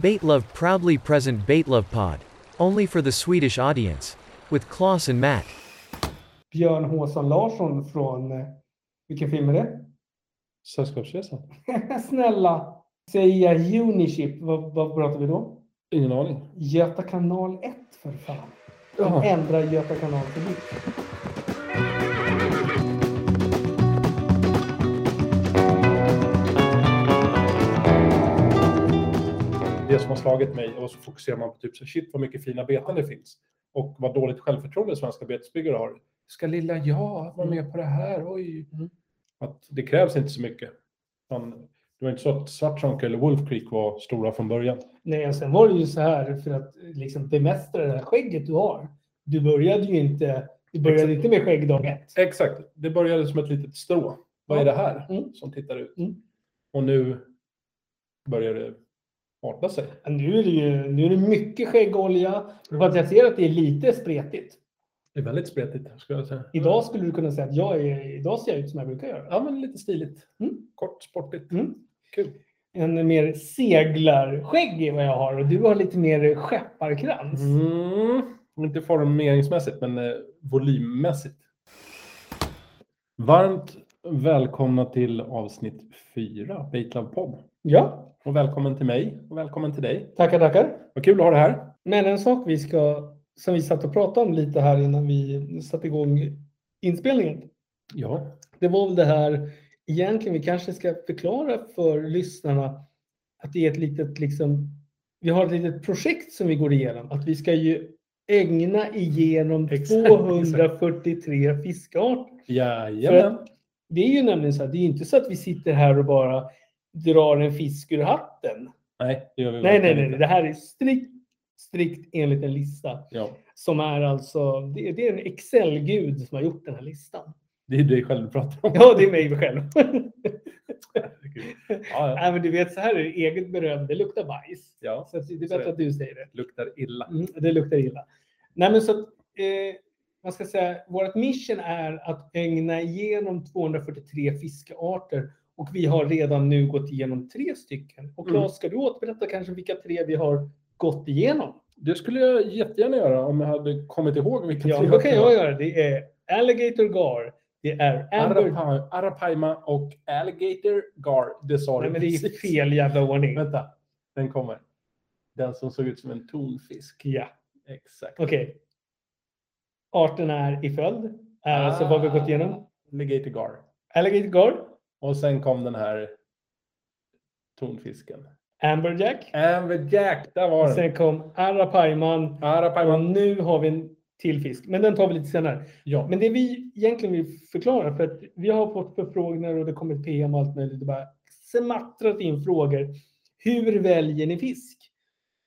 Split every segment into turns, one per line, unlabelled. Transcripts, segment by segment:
Baitlove proudly present Baitlove Pod. Only for the Swedish audience. With Klaus and Matt.
Björn Håsan Larsson från, eh, vilken film är det?
Sällskapsresan?
Snälla, säga Uniship, vad, vad pratar vi då?
Ingen aning.
Göta kanal 1 för fan. De
Jaha.
ändrar Göta kanal till Vitt.
Det som har slagit mig och så fokuserar man på typ så shit vad mycket fina beten det finns och vad dåligt självförtroende svenska betesbyggare har. Ska lilla jag vara med på det här? Oj.
Mm.
Att det krävs inte så mycket. Man, det var inte så att Svartsjönka eller Wolf Creek var stora från början.
Nej, och sen var det ju så här för att liksom bemästra det här skägget du har. Du började ju inte, du började inte med skägg dag ett.
Exakt, det började som ett litet strå. Vad är det här
Mm.
som tittar ut?
Mm.
Och nu börjar det arta sig.
Men Nu är det ju nu är det mycket skäggolja. För att jag ser att det är lite spretigt.
Det är väldigt spretigt skulle jag säga.
Idag skulle du kunna säga att jag är, idag ser jag ut som jag brukar göra.
Ja, men lite stiligt.
Mm.
Kort, sportigt.
Mm.
Kul.
en mer seglarskägg är vad jag har och du har lite mer skepparkrans.
Mm, inte formeringsmässigt, men eh, volymmässigt. Varmt välkomna till avsnitt 4, Baitlove podd.
Ja,
Och välkommen till mig och välkommen till dig.
tackar tackar.
Vad kul att ha det här.
Men en sak vi ska, som vi satt och pratade om lite här innan vi satte igång inspelningen.
Ja,
Det var väl det här egentligen vi kanske ska förklara för lyssnarna att det är ett litet liksom, vi har ett litet projekt som vi går igenom. Att vi ska ju ägna igenom
Exakt,
243 fiskarter.
jajamän.
Det är ju nämligen så att det är inte så att vi sitter här och bara drar en fisk ur
Mm.
hatten.
Nej, det gör vi
Nej, nej,
verkligen
nej.
inte.
Det här är strikt, strikt enligt en lista
Ja,
som är alltså, det, det är en Excel-gud som har gjort den här listan.
det är dig själv du pratar om.
Ja, det är mig själv.
Herregud. Ja, ja.
nej, men du vet, så här är det. Eget beröm, det luktar bajs.
ja,
Så att det är
Så är
bättre
det.
att du säger det.
luktar illa.
Mm, det luktar illa. Nej, men så att, eh, man ska säga, vårt mission är att ägna igenom 243 fiskearter och vi har redan nu gått igenom tre stycken. Och Claes,
Mm.
ska du återberätta kanske vilka tre vi har gått igenom?
Det skulle jag jättegärna göra om jag hade kommit ihåg vilket
Ja,
det
vad kan
var.
jag göra? Det är Alligator Gar, det är Amber...
Arapaima, Arapaima och Alligator Gar. Det sa
Nej,
du
men det är
precis.
fel jävla ordning.
Vänta, den kommer. Den som såg ut som en tonfisk.
Ja,
Exakt.
okej. Arterna är i följd. Är alltså vad vi har gått igenom.
Ah. Alligator Gar.
Alligator Gar,
Och sen kom den här tonfisken.
Amberjack.
Amberjack, där var den.
Sen kom Arapaiman. Och
Arapaiman.
nu har vi en till fisk, men den tar vi lite senare.
Ja,
Men det vi egentligen vill förklara, för att vi har fått förfrågningar och det kommer PM och allt möjligt och bara smattrat in frågor. Hur väljer ni fisk?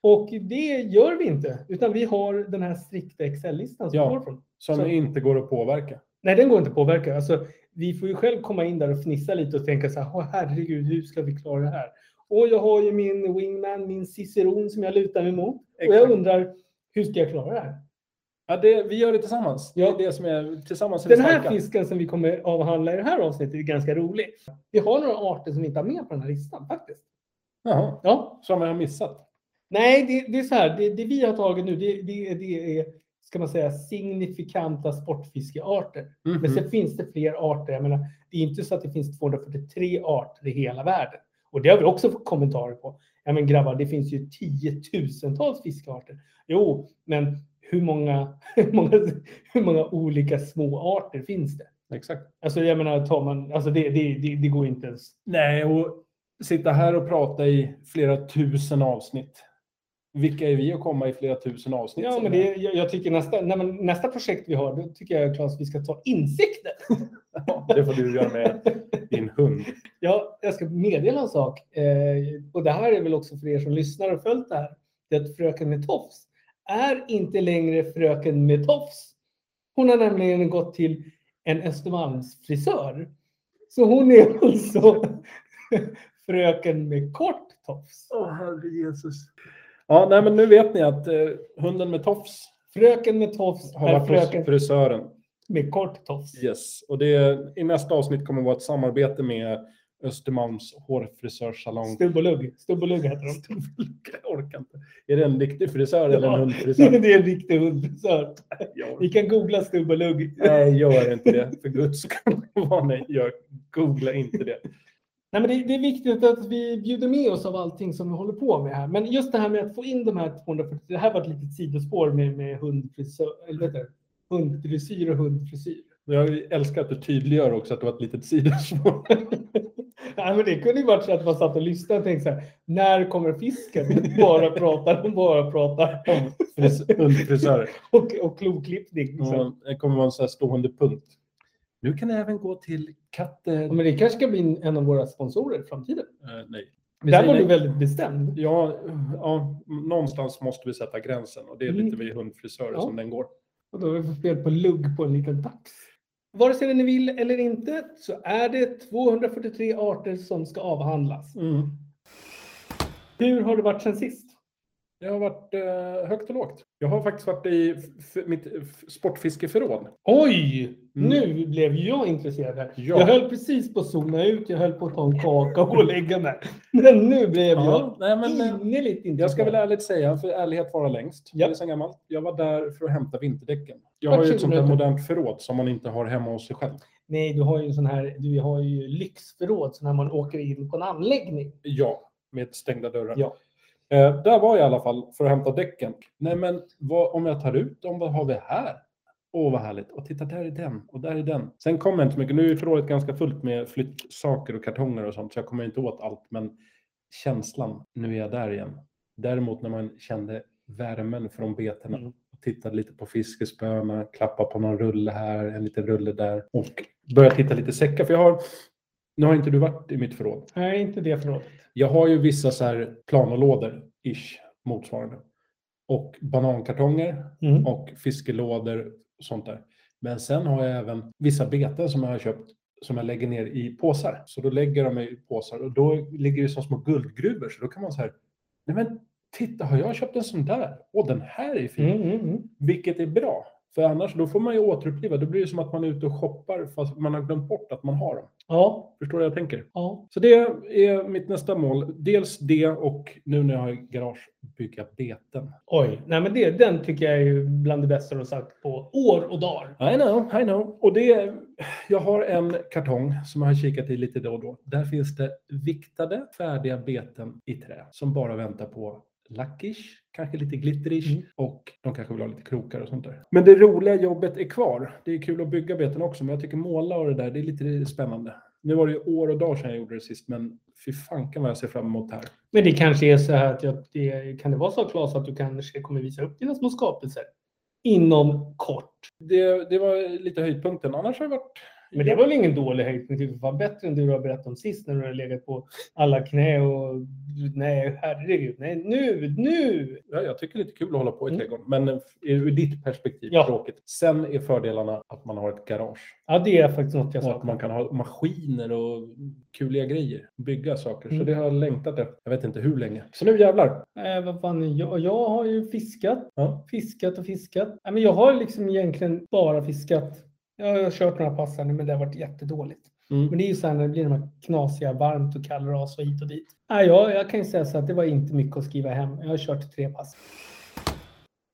Och det gör vi inte, utan vi har den här strikta Excel-listan som
Ja.
vi går från.
som
så-
inte går att påverka.
Nej, den går inte att påverka. Alltså, vi får ju själv komma in där och fnissa lite och tänka så här, "Åh, herregud, hur ska vi klara det här? Och jag har ju min wingman, min ciceron som jag lutar mig mot. Och jag
Exakt.
undrar, hur ska jag klara det här?
Ja, det, vi gör det tillsammans.
Ja.
Det är det som är tillsammans. är vi
Den här
starka.
fisken som vi kommer avhandla i det här avsnittet är ganska rolig. Vi har några arter som vi inte har med på den här listan faktiskt.
Jaha,
Ja.
som jag har missat.
Nej, det, det är så här. Det, det vi har tagit nu, det, det, det är, ska man säga, signifikanta sportfiskearter.
Mhm.
Men sen finns det fler arter. Jag menar, det är inte så att det finns 243 arter i hela världen. Och det har vi också fått kommentarer på. Ja, men grabbar, det finns ju tiotusentals fiskarter. Jo, men hur många, hur många, hur många olika små arter finns det?
Exakt.
Alltså jag menar, tar man, alltså det, det, det, det går inte ens.
Nej, och sitta här och prata i flera tusen avsnitt. Vilka är vi att komma i flera tusen avsnitt?
Ja,
sen?
men det, jag, jag tycker nästa, nej, men nästa projekt vi har, då tycker jag Claes vi ska ta insikter.
Ja, det får du göra med din hund.
Ja, jag ska meddela en sak. Eh, och det här är väl också för er som lyssnar och följt det här. Det är att fröken med tofs är inte längre fröken med tofs. Hon har nämligen gått till en Östermalmsfrisör. Så hon är alltså fröken med kort tofs.
Åh, herre Jesus. Ja, nej, men nu vet ni att eh, hunden med tofs
Fröken med tofs
har
är
varit
fröken
hos frisören.
med kort tofs.
Yes, och det i nästa avsnitt kommer att vara ett samarbete med Östermalms hårfrisörssalong.
Stubb och lugg. Stubb och lugg heter de.
Jag orkar inte. Är det en riktig frisör eller
Ja.
en hundfrisör?
Det är en riktig hundfrisör.
Jag
Ni kan googla stubb och lugg.
Nej, gör inte det. För guds skull. Vad nej, gör. Googla inte det.
Nej, men det, det är viktigt att vi bjuder med oss av allting som vi håller på med här. Men just det här med att få in de här 240, det här var ett litet sidospår med, med hundfrisör, eller vet du, hundfrisyr och hundfrisyr.
Men Jag älskar att du tydliggör också att det var ett litet sidospår.
Nej, men det kunde ju varit så att man satt och lyssnade och tänkte så här, när kommer fisken? Bara pratar, de bara pratar.
Fris- Hundfrisörer.
Och, och kloklippning. liksom.
Och Det kommer vara en sån här stående punkt. Mm. Nu kan jag även gå till katter.
Ja, men det kanske ska bli en- en av våra sponsorer i framtiden.
Eh, nej. Vi
Där
säger
var du
nej.
väldigt bestämd.
Ja, ja, någonstans måste vi sätta gränsen och det är lite
Mm.
vid hundfrisörer
Ja.
som den går.
Och då har vi fått fel på lugg på en liten tax. Vare sig ni vill eller inte så är det 243 arter som ska avhandlas.
Mm.
Hur har det varit sen sist?
Det har varit eh, högt och lågt. Jag har faktiskt varit i f- f- mitt f- sportfiskeförråd.
Oj!
Mm.
Nu blev jag intresserad. här.
Ja.
Jag höll precis på att zona ut, jag höll på att ta en kaka och gå och lägga mig. Men nu blev
Ja, nej,
jag
men, eh,
innerligt intresserad.
jag ska väl ärligt säga, för ärlighet vara längst.
Ja.
Det är så gammalt. Jag var där för att hämta vinterdäcken. Jag har ju ett sånt där
2000.
modernt förråd som man inte har hemma hos sig själv.
Nej, du har ju en sån här, du har ju lyxförråd, så när man åker in på en anläggning.
Ja, med stängda dörrar.
Ja.
Eh, där var jag i alla fall för att hämta däcken. Nej, men vad, om jag tar ut dem, vad har vi här? Åh, vad härligt. Och titta, där är den och där är den. Sen kommer jag inte så mycket. Nu är förrådet ganska fullt med flyttsaker och kartonger och sånt, så jag kommer inte åt allt. Men känslan, nu är jag där igen. Däremot när man kände värmen från betena
Mm.
och tittade lite på fiskespöna, klappa på någon rulle här, en liten rulle där och började titta lite säckar. För jag har, nu har inte du varit i mitt förråd,
Nej, inte det förrådet.
jag har ju vissa så här planolådor, ish, motsvarande. Och banankartonger
Mm.
och fiskelådor och sånt där. Men sen har jag även vissa beten som jag har köpt som jag lägger ner i påsar. Så då lägger jag dem i påsar och då ligger det som små guldgruvor. Så då kan man så här, nej men titta har jag köpt en sån där? Åh den här är fin.
Mm, mm, mm.
Vilket är bra. För annars då får man ju återuppliva. Då blir det som att man är ute och shoppar fast man har glömt bort att man har dem.
Ja,
Förstår du vad jag tänker?
ja.
Så det är mitt nästa mål. Dels det och nu när jag har garage, bygga beten.
Oj, nej men det, den tycker jag är ju bland det bästa du har sagt på år och dagar.
I know, I know. Och det, jag har en kartong som jag har kikat i lite då och då. Där finns det viktade, färdiga beten i trä som bara väntar på lackish, kanske lite glitterish
Mm.
och de kanske vill ha lite krokar och sånt där. Men det roliga jobbet är kvar. Det är kul att bygga beten också, men jag tycker måla och det där, det är lite spännande. Nu var det ju år och dagar sedan jag gjorde det sist, men fy fanken vad jag ser fram emot det här.
Men det kanske är så här att jag, det, kan det vara så Claes att du kanske kommer visa upp dina små skapelser inom kort?
Det, det var lite höjdpunkten. Annars har det varit...
Men det var väl ingen dålig höjdpunkt? Det var bättre än du har berättat om sist när du har legat på alla knä och nej, herregud, nej, nu, nu!
Ja, jag tycker det är lite kul att hålla på i
Mm.
trädgården. Men eh, ur ditt perspektiv,
Ja.
tråkigt. Sen är fördelarna att man har ett garage.
Ja, det är faktiskt något jag
Och att
saknar.
man kan ha maskiner och kuliga grejer. Bygga saker. Så
Mm.
det har jag längtat efter. Jag vet inte hur länge. Så nu jävlar.
Äh, vad fan, jag, jag har ju fiskat,
Ja.
fiskat och fiskat. Nej, men jag har liksom egentligen bara fiskat. Jag har kört några pass här nu, men det har varit jättedåligt. Men
Mm.
det är ju så här när det blir de här knasiga, varmt och kallras och hit och dit. Nej, jag, jag kan ju säga så att det var inte mycket att skriva hem. Jag har kört tre pass.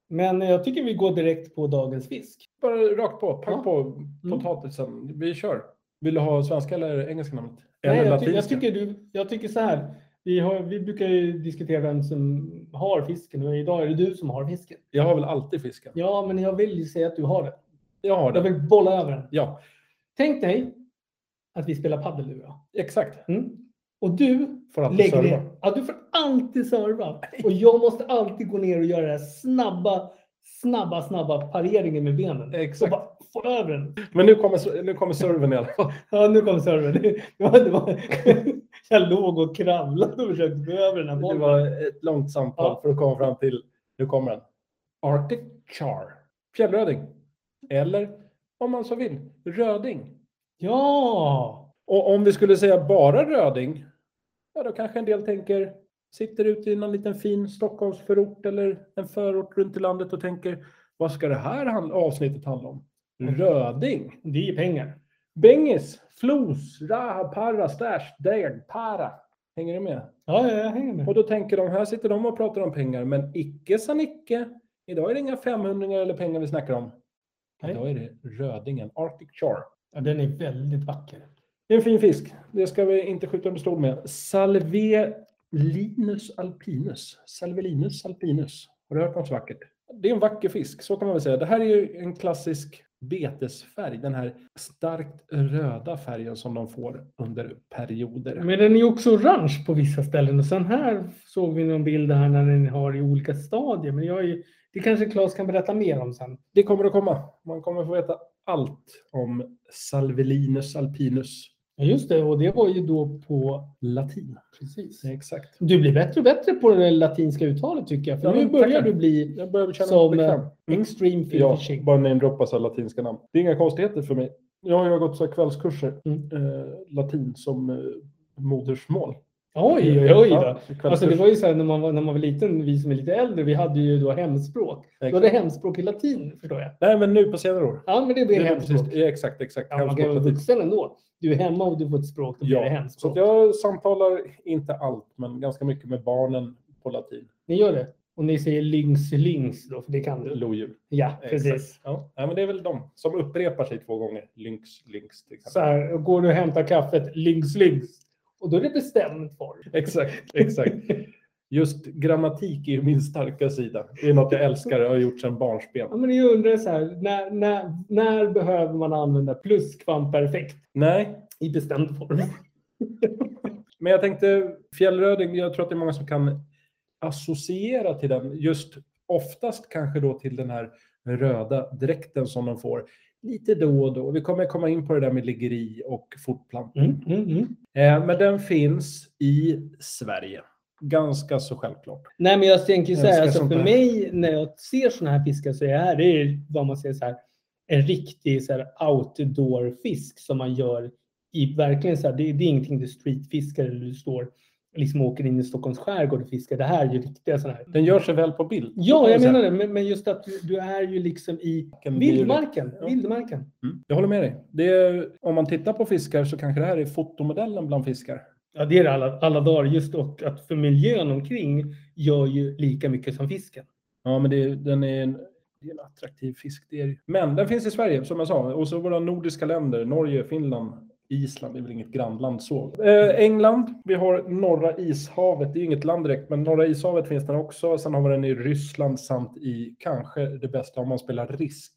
Men jag tycker vi går direkt på dagens fisk.
Bara rakt på. Pack
Ja. Mm.
på potatisen. Vi kör. Vill du ha svenska eller engelska namnet?
Nej,
eller
jag, ty- jag,
latinska?
tycker du, jag tycker så här. Vi, har, vi brukar ju diskutera vem som har fisken och idag är det du som har fisken.
jag har väl alltid fisken?
Ja, men jag vill ju säga att du har den.
Jag har
Jag
det.
vill bolla över den.
Ja,
Tänk dig att vi spelar padel nu då.
exakt.
Mm. Och du
Får alltid
Lägg
serva.
ner. Ja, du får alltid serva. Och jag måste alltid gå ner och göra den här snabba, snabba, snabba pareringen med benen.
Exakt.
Och bara få över den.
Men nu kommer, nu kommer serven i alla fall.
Ja, nu kom serven. Det var, det var, jag låg och kravlade och försökte få över den här
Det
bollen.
var ett långt samtal
Ja.
för att komma fram till, nu kommer den. Arctic Char. Fjällröding. Eller om man så vill, röding.
Ja!
Och om vi skulle säga bara röding, ja då kanske en del tänker, sitter ute i någon liten fin Stockholmsförort eller en förort runt i landet och tänker, vad ska det här handla, avsnittet handla om? Röding.
Det är pengar.
Bengis, flos, raha, parra, stash, deg, para. Hänger du med?
Ja, ja, jag hänger med.
Och då tänker de, här sitter de och pratar om pengar, men icke sa Nicke. Idag är det inga 500 eller pengar vi snackar om.
Nej.
Idag är det rödingen, Arctic Char.
Ja, den är väldigt vacker.
Det är en fin fisk. Det ska vi inte skjuta under stol med. Salvelinus alpinus. Salvelinus alpinus. Har du hört något så vackert? Det är en vacker fisk, så kan man väl säga. Det här är ju en klassisk betesfärg. Den här starkt röda färgen som de får under perioder.
Men den är ju också orange på vissa ställen. Och sen här såg vi någon bild här när den har i olika stadier. Men jag är, ju- det kanske Claes kan berätta mer om sen.
Det kommer att komma. Man kommer få veta allt om Salvelinus alpinus.
Ja, just det. Och det var ju då på...
Latin.
Precis.
Exakt.
Du blir bättre och bättre på det latinska uttalet tycker jag. För
Ja,
nu
men
börjar
tackar.
du bli
Jag börjar känna
Som,
mig bekväm. Mm.
eh, extreme
Ja,
fishing.
bara namedroppa så här latinska namn. Det är inga konstigheter för mig. Jag har ju gått så här kvällskurser,
Mm.
eh, latin som eh, modersmål.
Oj, oj, oj. Då.
Ja, kvällskurs.
Alltså det var ju så här när man var, när man var liten, vi som är lite äldre, vi hade ju då hemspråk. Du hade hemspråk i latin förstår jag.
Nej, men nu på senare år.
Ja, men det blir
Det är
hemspråk.
precis- ja, exakt, exakt.
Ja, man
Hemspråk
kan vara
latin.
vuxen ändå. Du är hemma och du får ett språk, då blir det
Ja, så
hemspråk.
att jag samtalar inte allt, men ganska mycket med barnen på latin.
Ni gör det. Och ni säger lynx, lynx då, för det kan du.
Lodjur.
Ja,
Exakt.
precis.
Ja, nej, men det är väl de som upprepar sig två gånger. Lynx, lynx till exempel.
Så här, och går du och hämtar kaffet, lynx, lynx. Och då är det bestämt form.
Exakt, exakt. Just grammatik är ju min starka sida. Det är något jag älskar och har gjort sedan barnsben.
Ja, men jag undrar så här, när, när, när behöver man använda pluskvamperfekt
Nej,
i bestämd form?
Mm, men jag tänkte fjällröding, jag tror att det är många som kan associera till den. Just oftast kanske då till den här röda dräkten som de får lite då och då. Vi kommer komma in på det där med liggeri och fortplant.
Mm, mm, mm.
Eh, men den finns i Sverige. Ganska så självklart.
Nej, men jag tänker så här,
Älskar
alltså
sånt
för
där.
mig när jag ser sådana här fiskar så är det ju vad man säger så här, en riktig så här outdoor-fisk som man gör i verkligen så här, det, det är ingenting du streetfiskar eller du står liksom åker in i Stockholms skärgård och fiskar. Det här är ju riktiga sådana här.
Den gör sig väl på bild.
Ja, jag menar det, men, men just att du, du är ju liksom i
Kan bli-
vildmarken.
Ja.
vildmarken.
Mm. Jag håller med dig. Det är, om man tittar på fiskar så kanske det här är fotomodellen bland fiskar.
Ja, det är det alla, alla dagar just och att för miljön omkring gör ju lika mycket som fisken.
Ja, men det, är- den är en, det är en attraktiv fisk. Det är, det ju. men den finns i Sverige, som jag sa. Och så våra nordiska länder, Norge, Finland, Island. Det är väl inget grannland så. Eh, England, vi har norra ishavet. Det är ju inget land direkt, men norra ishavet finns den också. Sen har vi den i Ryssland samt i kanske det bästa om man spelar risk.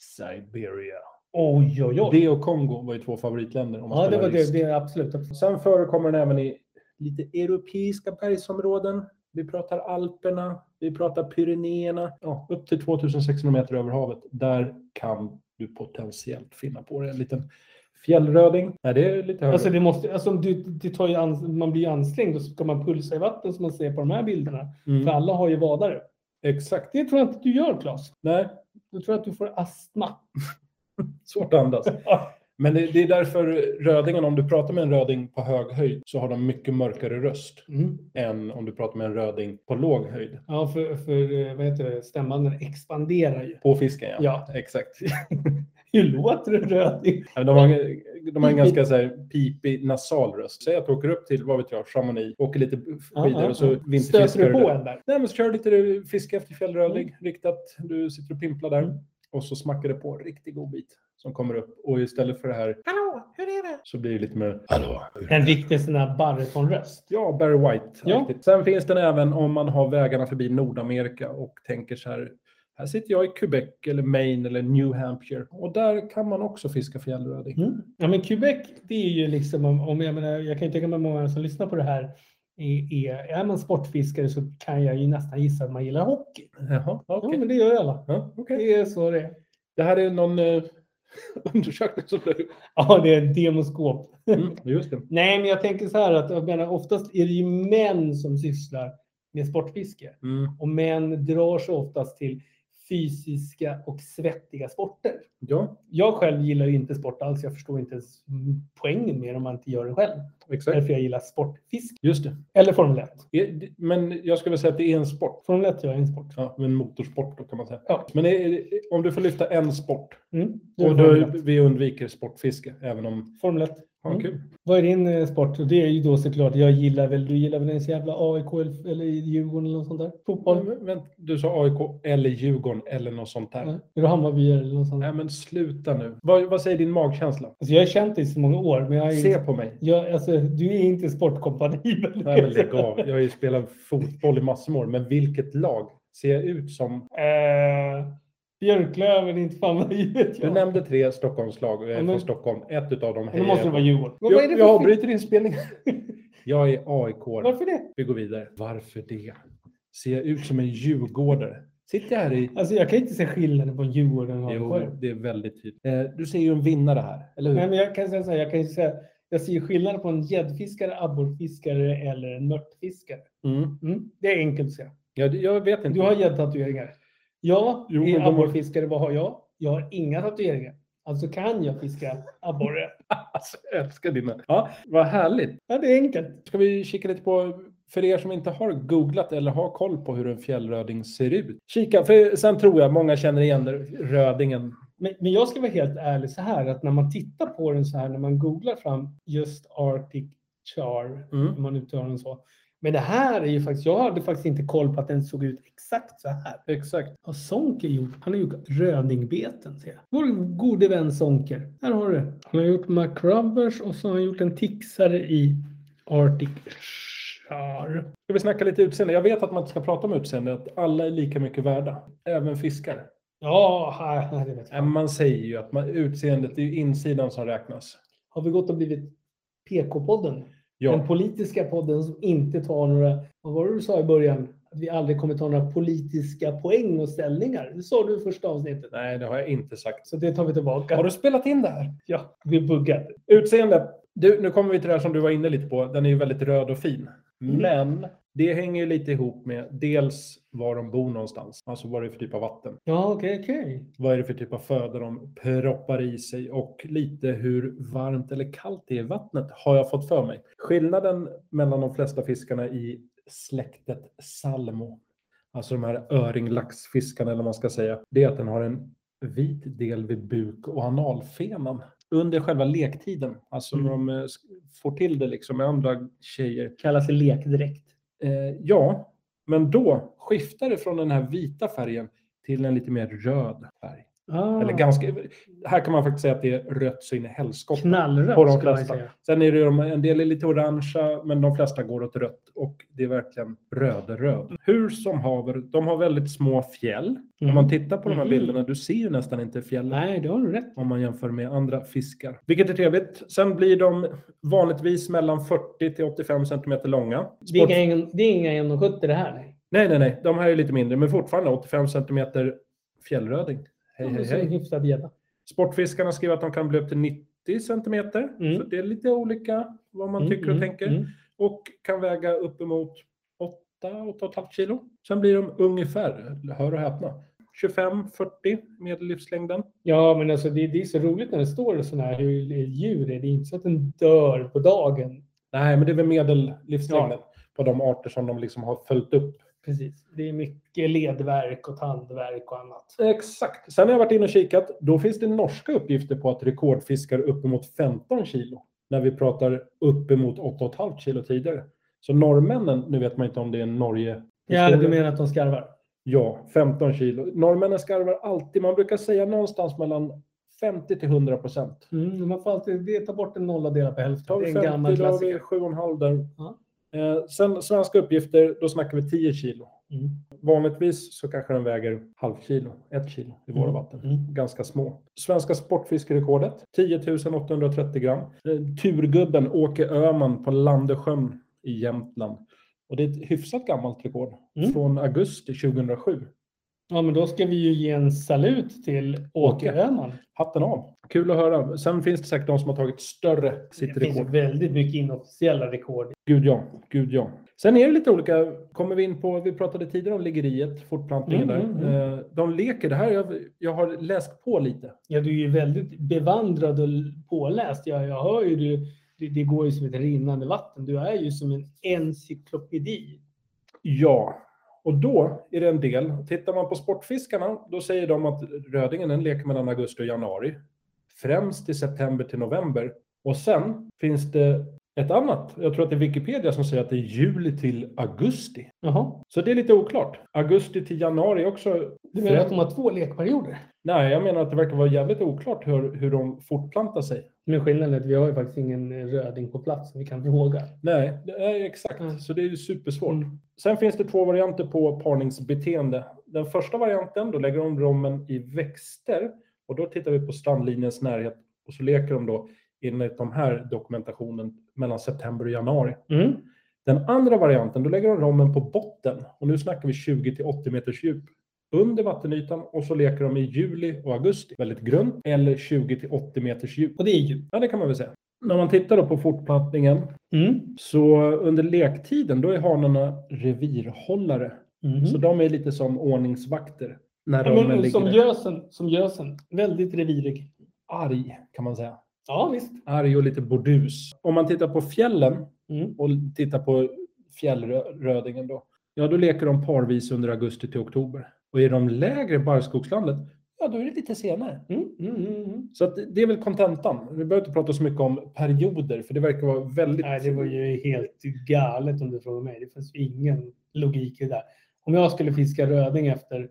Siberia.
Oj, oj, oj.
Det och Kongo var ju två favoritländer. Om man
Ja, det
spelar
var
risk.
det. det är absolut. absolut.
Sen förekommer den även i lite europeiska bergsområden. Vi pratar Alperna, vi pratar Pyrenéerna. Ja, upp till 2600 meter över havet. Där kan du potentiellt finna på dig en liten fjällröding. Nej, det är lite högre.
Alltså det måste, alltså om du, det tar ju ans, man blir ju ansträngd och så ska man pulsa i vatten som man ser på de här bilderna.
Mm,
För alla har ju vadare.
Exakt.
Det tror jag inte du gör Claes.
Nej,
Då tror jag att du får astma.
svårt att andas. Men det, det är därför rödingen, om du pratar med en röding på hög höjd så har de mycket mörkare röst
Mm.
än om du pratar med en röding på låg höjd.
Ja, för, för eh, vad heter det? stämbanden expanderar ju.
På fisken, ja.
Ja.
Exakt.
Hur låter en röding?
Ja, men De har, de
Mm.
har en ganska så här pipig nasal röst. Säg att du åker upp till, vad vet jag, Chamonix, åker lite skidor och så vinterfiskar
Stöter du på Mm.
där.
en där?
Nej, men så kör du lite fiske efter fjällröding riktat. Du sitter och pimplar där
Mm.
och så smackar det på en riktigt god bit som kommer upp. Och istället för det här
Hallå, hur är det?
så blir det lite mer hallå.
En riktig sån här baritonröst.
Ja, Barry White.
Ja.
Sen finns den även om man har vägarna förbi Nordamerika och tänker så här. Här sitter jag i Quebec eller Maine eller New Hampshire och där kan man också fiska fjällröding.
Mm. Ja, men Quebec, det är ju liksom, om- om jag, menar, jag kan ju tänka mig många som lyssnar på det här. Är, är, är man sportfiskare så kan jag ju nästan gissa att man gillar hockey.
Jaha, okej.
Ja, men det gör ju alla.
Ja, okej.
Det är så det är.
Det här är någon eh, undersökning som du...
Ja, det är ett demoskop.
Mm, just det.
Nej, men jag tänker så här att jag menar, oftast är det ju män som sysslar med sportfiske.
Mm.
Och män drar sig oftast till fysiska och svettiga sporter.
Ja,
Jag själv gillar ju inte sport alls. Jag förstår inte ens poängen med det om man inte gör det själv.
exakt.
Därför jag gillar sportfisk.
Just det.
Eller Formel 1.
Är- Men jag skulle säga att det är en sport.
Formel 1 gör jag en sport.
Ja, men motorsport då kan man säga.
Ja.
Men är- är- om du får lyfta en sport.
Mm. Du är
Och då,
Formel 1.
vi undviker sportfiske, även om...
Formel 1.
Ja,
Mm.
kul.
Vad är din eh, sport? Det är ju då såklart, jag gillar väl, du gillar väl ens jävla AIK eller eller Djurgården eller något sånt där? Fotboll?
Men, men, du sa AIK eller Djurgården eller något sånt där.
Nej. Är du Hammarby eller något sånt?
Nej, men sluta nu. Vad, vad säger din magkänsla?
Alltså, jag har känt dig så många år, men jag är,
Se på mig.
jag, alltså, du är inte Eh, sportkompanibel.
Nej, men lägg av. Jag har ju spelat fotboll i massor av år, men vilket lag ser jag ut som?
Eh, Björklöven, inte fan vad vet
Du
jag.
nämnde tre Stockholmslag och jag är
Ja, men-
från Stockholm. Ett utav dem
Men då måste det vara Djurgården. Men vad är
jag,
det
jag
för fel?
avbryter inspelningen. Jag är AIK.
Varför det?
Vi går vidare. Varför det? Ser jag ut som en djurgårdare? Sitter jag här i...
Alltså, jag kan inte se skillnaden på Djurgården och
Jo,
AIK.
det är väldigt tydligt. Eh, Du ser ju en vinnare här, eller hur?
Nej, men jag kan säga så här, jag kan ju säga, jag ser skillnad på en gäddfiskare, abborrfiskare eller en mörtfiskare.
Mm.
Mm, det är enkelt att säga.
Jag, jag vet inte.
Du har gäddtatueringar. Jag
Jo, men de
är
har-
abborrfiskare. Vad har jag? Jag har inga tatueringar. Alltså kan jag fiska abborre.
Alltså, jag älskar dina. Ja, vad härligt.
Ja, det är enkelt.
Ska vi kika lite på, för er som inte har googlat eller har koll på hur en fjällröding ser ut. Kika, för sen tror jag många känner igen rödingen.
Men, men jag ska vara helt ärlig så här att när man tittar på den så här, när man googlar fram just Arctic Char, om
Mm.
man uttalar den så. Men det här är ju faktiskt, jag hade faktiskt inte koll på att den såg ut exakt så här.
Exakt.
Vad Sonker gjort? Han har gjort rödingbeten ser jag. Vår gode vän Sonker. Här har du. Han har gjort McRubbers och så har han gjort en tixare i Arctic Char.
Ska vi snacka lite utseende? Jag vet att man inte ska prata om utseende, att alla är lika mycket värda. Även fiskar.
Ja, här- här, det vet
Nej,
jag.
men Man säger ju att man, utseendet, det är ju insidan som räknas.
Har vi gått och blivit PK-podden? Den
Ja,
politiska podden som inte tar några, vad var det du sa i början? Att vi aldrig kommer ta några politiska poäng och ställningar. Det sa du i första avsnittet.
nej, det har jag inte sagt.
Så det tar vi tillbaka.
Har du spelat in det här?
Ja, vi buggar.
Utseende. Du, nu kommer vi till det här som du var inne lite på. Den är ju väldigt röd och fin. Men det hänger ju lite ihop med dels var de bor någonstans. Alltså vad det är för typ av vatten.
Ja, okej, okej.
Vad är det för typ av föda de proppar i sig och lite hur varmt eller kallt det är i vattnet har jag fått för mig. Skillnaden mellan de flesta fiskarna i släktet salmo, alltså de här öringlaxfiskarna eller vad man ska säga, det är att den har en vit del vid buk och analfenan under själva lektiden. Alltså när de eh, sk- får till det liksom med andra tjejer.
Kallas lekdräkt.
Eh, ja, men då skiftar det från den här vita färgen till en lite mer röd färg.
Ah.
Eller ganska, här kan man faktiskt säga att det är rött så in i helskotta.
Knallrött
på de
skulle man
flesta.
säga.
Sen är det ju de, en del är lite orangea, men de flesta går åt rött och det är verkligen röd-röd. Hur som haver, de har väldigt små fjäll. Om man tittar på de här
Mhm.
bilderna, du ser ju nästan inte fjällen
Nej, det har du rätt.
om man jämför med andra fiskar. Vilket är trevligt. Sen blir de vanligtvis mellan 40 till 85 centimeter långa.
Det är
Sport-
inga, det är inga 1,70 det här. Nej.
Nej, nej, nej. De här är lite mindre, men fortfarande 85 centimeter fjällröding. Hej,
Det
hej,
ser en
hej.
hyfsad gädda.
Sportfiskarna skriver att de kan bli upp till 90 centimeter.
Mm.
Så det är lite olika vad man
Mm,
tycker och
mm,
tänker.
mm.
Och kan väga uppemot 8-8,5 kilo. Sen blir de ungefär, hör och häpna, 25-40 medellivslängden.
Ja, men alltså det, det är så roligt när det står sådana här hur djur är. Det är inte så att den dör på dagen.
Nej, men det är väl medellivslängden på de arter som de liksom har följt upp.
Precis. Det är mycket ledverk och tandverk och annat.
Exakt. Sen har jag varit inne och kikat. Då finns det norska uppgifter på att rekordfiskar uppemot 15 kilo. När vi pratar uppemot 8,5 kilo tidigare. Så norrmännen, nu vet man inte om det är Norge.
Ja, du menar att de skarvar?
Ja, 15 kilo. Norrmännen skarvar alltid. Man brukar säga någonstans mellan 50 till 100 procent.
Mm, man får alltid det, ta bort en nolla och dela på hälften.
Tar
Det är
vi
en gammal
50, då har vi
klassiker.
7,5 där.
Ja.
Eh, sen svenska uppgifter, då snackar vi 10 kilo.
Mm.
Vanligtvis så kanske den väger halv kilo, ett kilo i våra
Mm.
vatten.
Mm.
Ganska små. Svenska sportfiskerekordet, 10 830 gram. Eh, Turgubben Åke Öman på Landesjön i Jämtland. Och det är ett hyfsat gammalt rekord
Mm.
från augusti 2007.
Ja, men då ska vi ju ge en salut till Åke
Åke.
Öhman.
Hatten av. Kul att höra. Sen finns det säkert de som har tagit större sitt
Det finns
rekord.
väldigt mycket inofficiella rekord.
Gud ja, gud ja. Sen är det lite olika. Kommer vi in på, vi pratade tidigare om liggeriet, fortplantningen
Mm, mm,
där. Eh, De leker, det här, jag, jag har läst på lite.
Ja, du är ju väldigt bevandrad och påläst. Jag, jag hör ju du, det, det går ju som ett rinnande vatten. Du är ju som en encyklopedi.
Ja, och då är det en del. Tittar man på Sportfiskarna, då säger de att rödingen den leker mellan augusti och januari. Främst i september till november. Och sen finns det ett annat. Jag tror att det är Wikipedia som säger att det är juli till augusti.
Jaha.
Så det är lite oklart. Augusti till januari är också.
Du menar att
främ-
de har två lekperioder?
Nej, jag menar att det verkar vara jävligt oklart hur, hur de fortplantar sig.
Men skillnaden är att vi har ju faktiskt ingen röding på plats som vi kan fråga.
Nej, det är exakt.
Mm.
Så det är ju supersvårt.
Mm.
Sen finns det två varianter på parningsbeteende. Den första varianten, då lägger de rommen i växter och då tittar vi på strandlinjens närhet och så leker de då enligt de här dokumentationen mellan september och januari.
Mm.
Den andra varianten, då lägger de rommen på botten och nu snackar vi 20 till 80 meters djup under vattenytan och så leker de i juli och augusti väldigt grunt eller 20 till 80 meters djup.
Och det är ju.
Ja, det kan man väl säga. När man tittar då på fortplantningen
Mm.
så under lektiden då är hanarna revirhållare.
Mm.
Så de är lite som ordningsvakter när
Ja,
rommen
men,
ligger
som
där.
gösen, som gösen. Väldigt revirig.
arg kan man säga.
Ja, visst.
Arg och lite bordus. Om man tittar på fjällen
Mm.
och tittar på fjällrödingen då. Ja, då leker de parvis under augusti till oktober. Och i de lägre barrskogslandet, ja då är det lite senare.
Mm. Mm. Mm. Mm.
Så att det är väl kontentan. Vi behöver inte prata så mycket om perioder, för det verkar vara väldigt...
Nej, det var ju helt galet om du frågar mig. Det fanns ju ingen logik i det där. Om jag skulle fiska röding efter,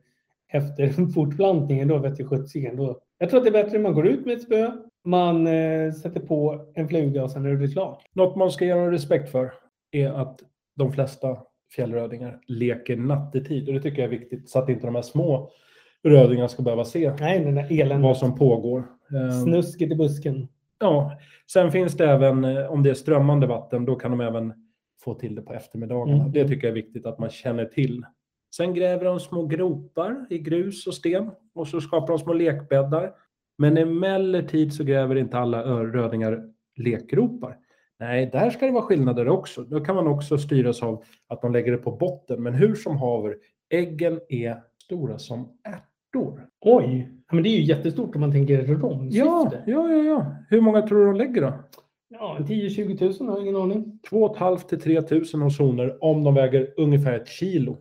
efter fortplantningen, då vet jag sjuttsingen. då- Jag tror att det är bättre att man går ut med ett spö, man eh, sätter på en fluga och sen är det klart.
Något man ska ge dem respekt för är att de flesta fjällrödingar leker nattetid. Och det tycker jag är viktigt, så att inte de här små rödingarna ska behöva se
Nej, den där eländiga
vad som pågår. Eh,
snusket i busken.
Ja. Sen finns det även, eh, om det är strömmande vatten, då kan de även få till det på eftermiddagarna.
Mm.
Det tycker jag är viktigt att man känner till. Sen gräver de små gropar i grus och sten och så skapar de små lekbäddar. Men emellertid så gräver inte alla ö- rödingar lekgropar. Nej, där ska det vara skillnader också. Då kan man också styras av att de lägger det på botten. Men hur som haver, äggen är stora som ärtor.
Oj, ja, men det är ju jättestort om man tänker romsyfte.
Ja, ja, ja, ja. Hur många tror du de lägger då?
ja 10-20 tusen har jag ingen aning.
2,5 till 3 000 horsoner om de väger ungefär ett kilo.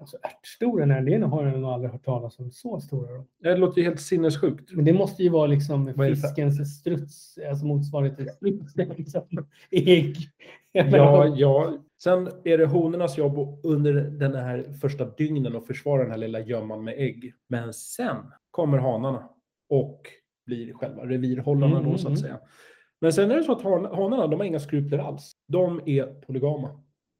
Alltså ärtstora närdelen har jag nog aldrig hört talas om. Så stora då.
Det låter ju helt sinnessjukt.
Men det måste ju vara liksom
Vad är det för-
fiskens struts, alltså motsvarigheten till strutsen. Liksom. Ägg.
Ja, ja. Sen är det honornas jobb att under den här första dygnen att försvara den här lilla gömman med ägg. Men sen kommer hanarna och blir själva revirhållarna
Mm,
då så
mm,
att säga. Men sen är det så att han- hanarna, de har inga skrupler alls. De är polygama.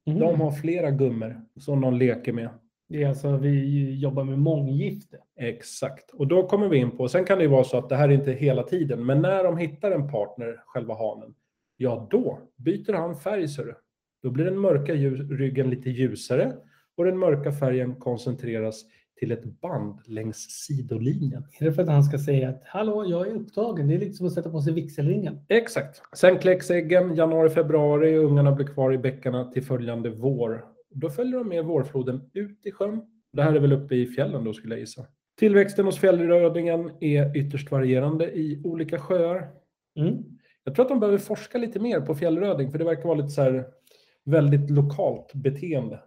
Mhm.
De har flera gummor som de leker med.
Det är alltså, vi jobbar med månggifte.
Exakt. Och då kommer vi in på, sen kan det ju vara så att det här är inte hela tiden, men när de hittar en partner, själva hanen, ja då byter han färg ser du. Då blir den mörka ljus, ryggen lite ljusare och den mörka färgen koncentreras till ett band längs sidolinjen.
Är det för att han ska säga att hallå, jag är upptagen? Det är lite som att sätta på sig vigselringen.
Exakt. Sen kläcks äggen januari, februari och ungarna blir kvar i bäckarna till följande vår. Då följer de med vårfloden ut i sjön. Det här är väl uppe i fjällen då skulle jag gissa. Tillväxten hos fjällrödingen är ytterst varierande i olika sjöar.
Mm.
Jag tror att de behöver forska lite mer på fjällröding för det verkar vara lite så här väldigt lokalt beteende.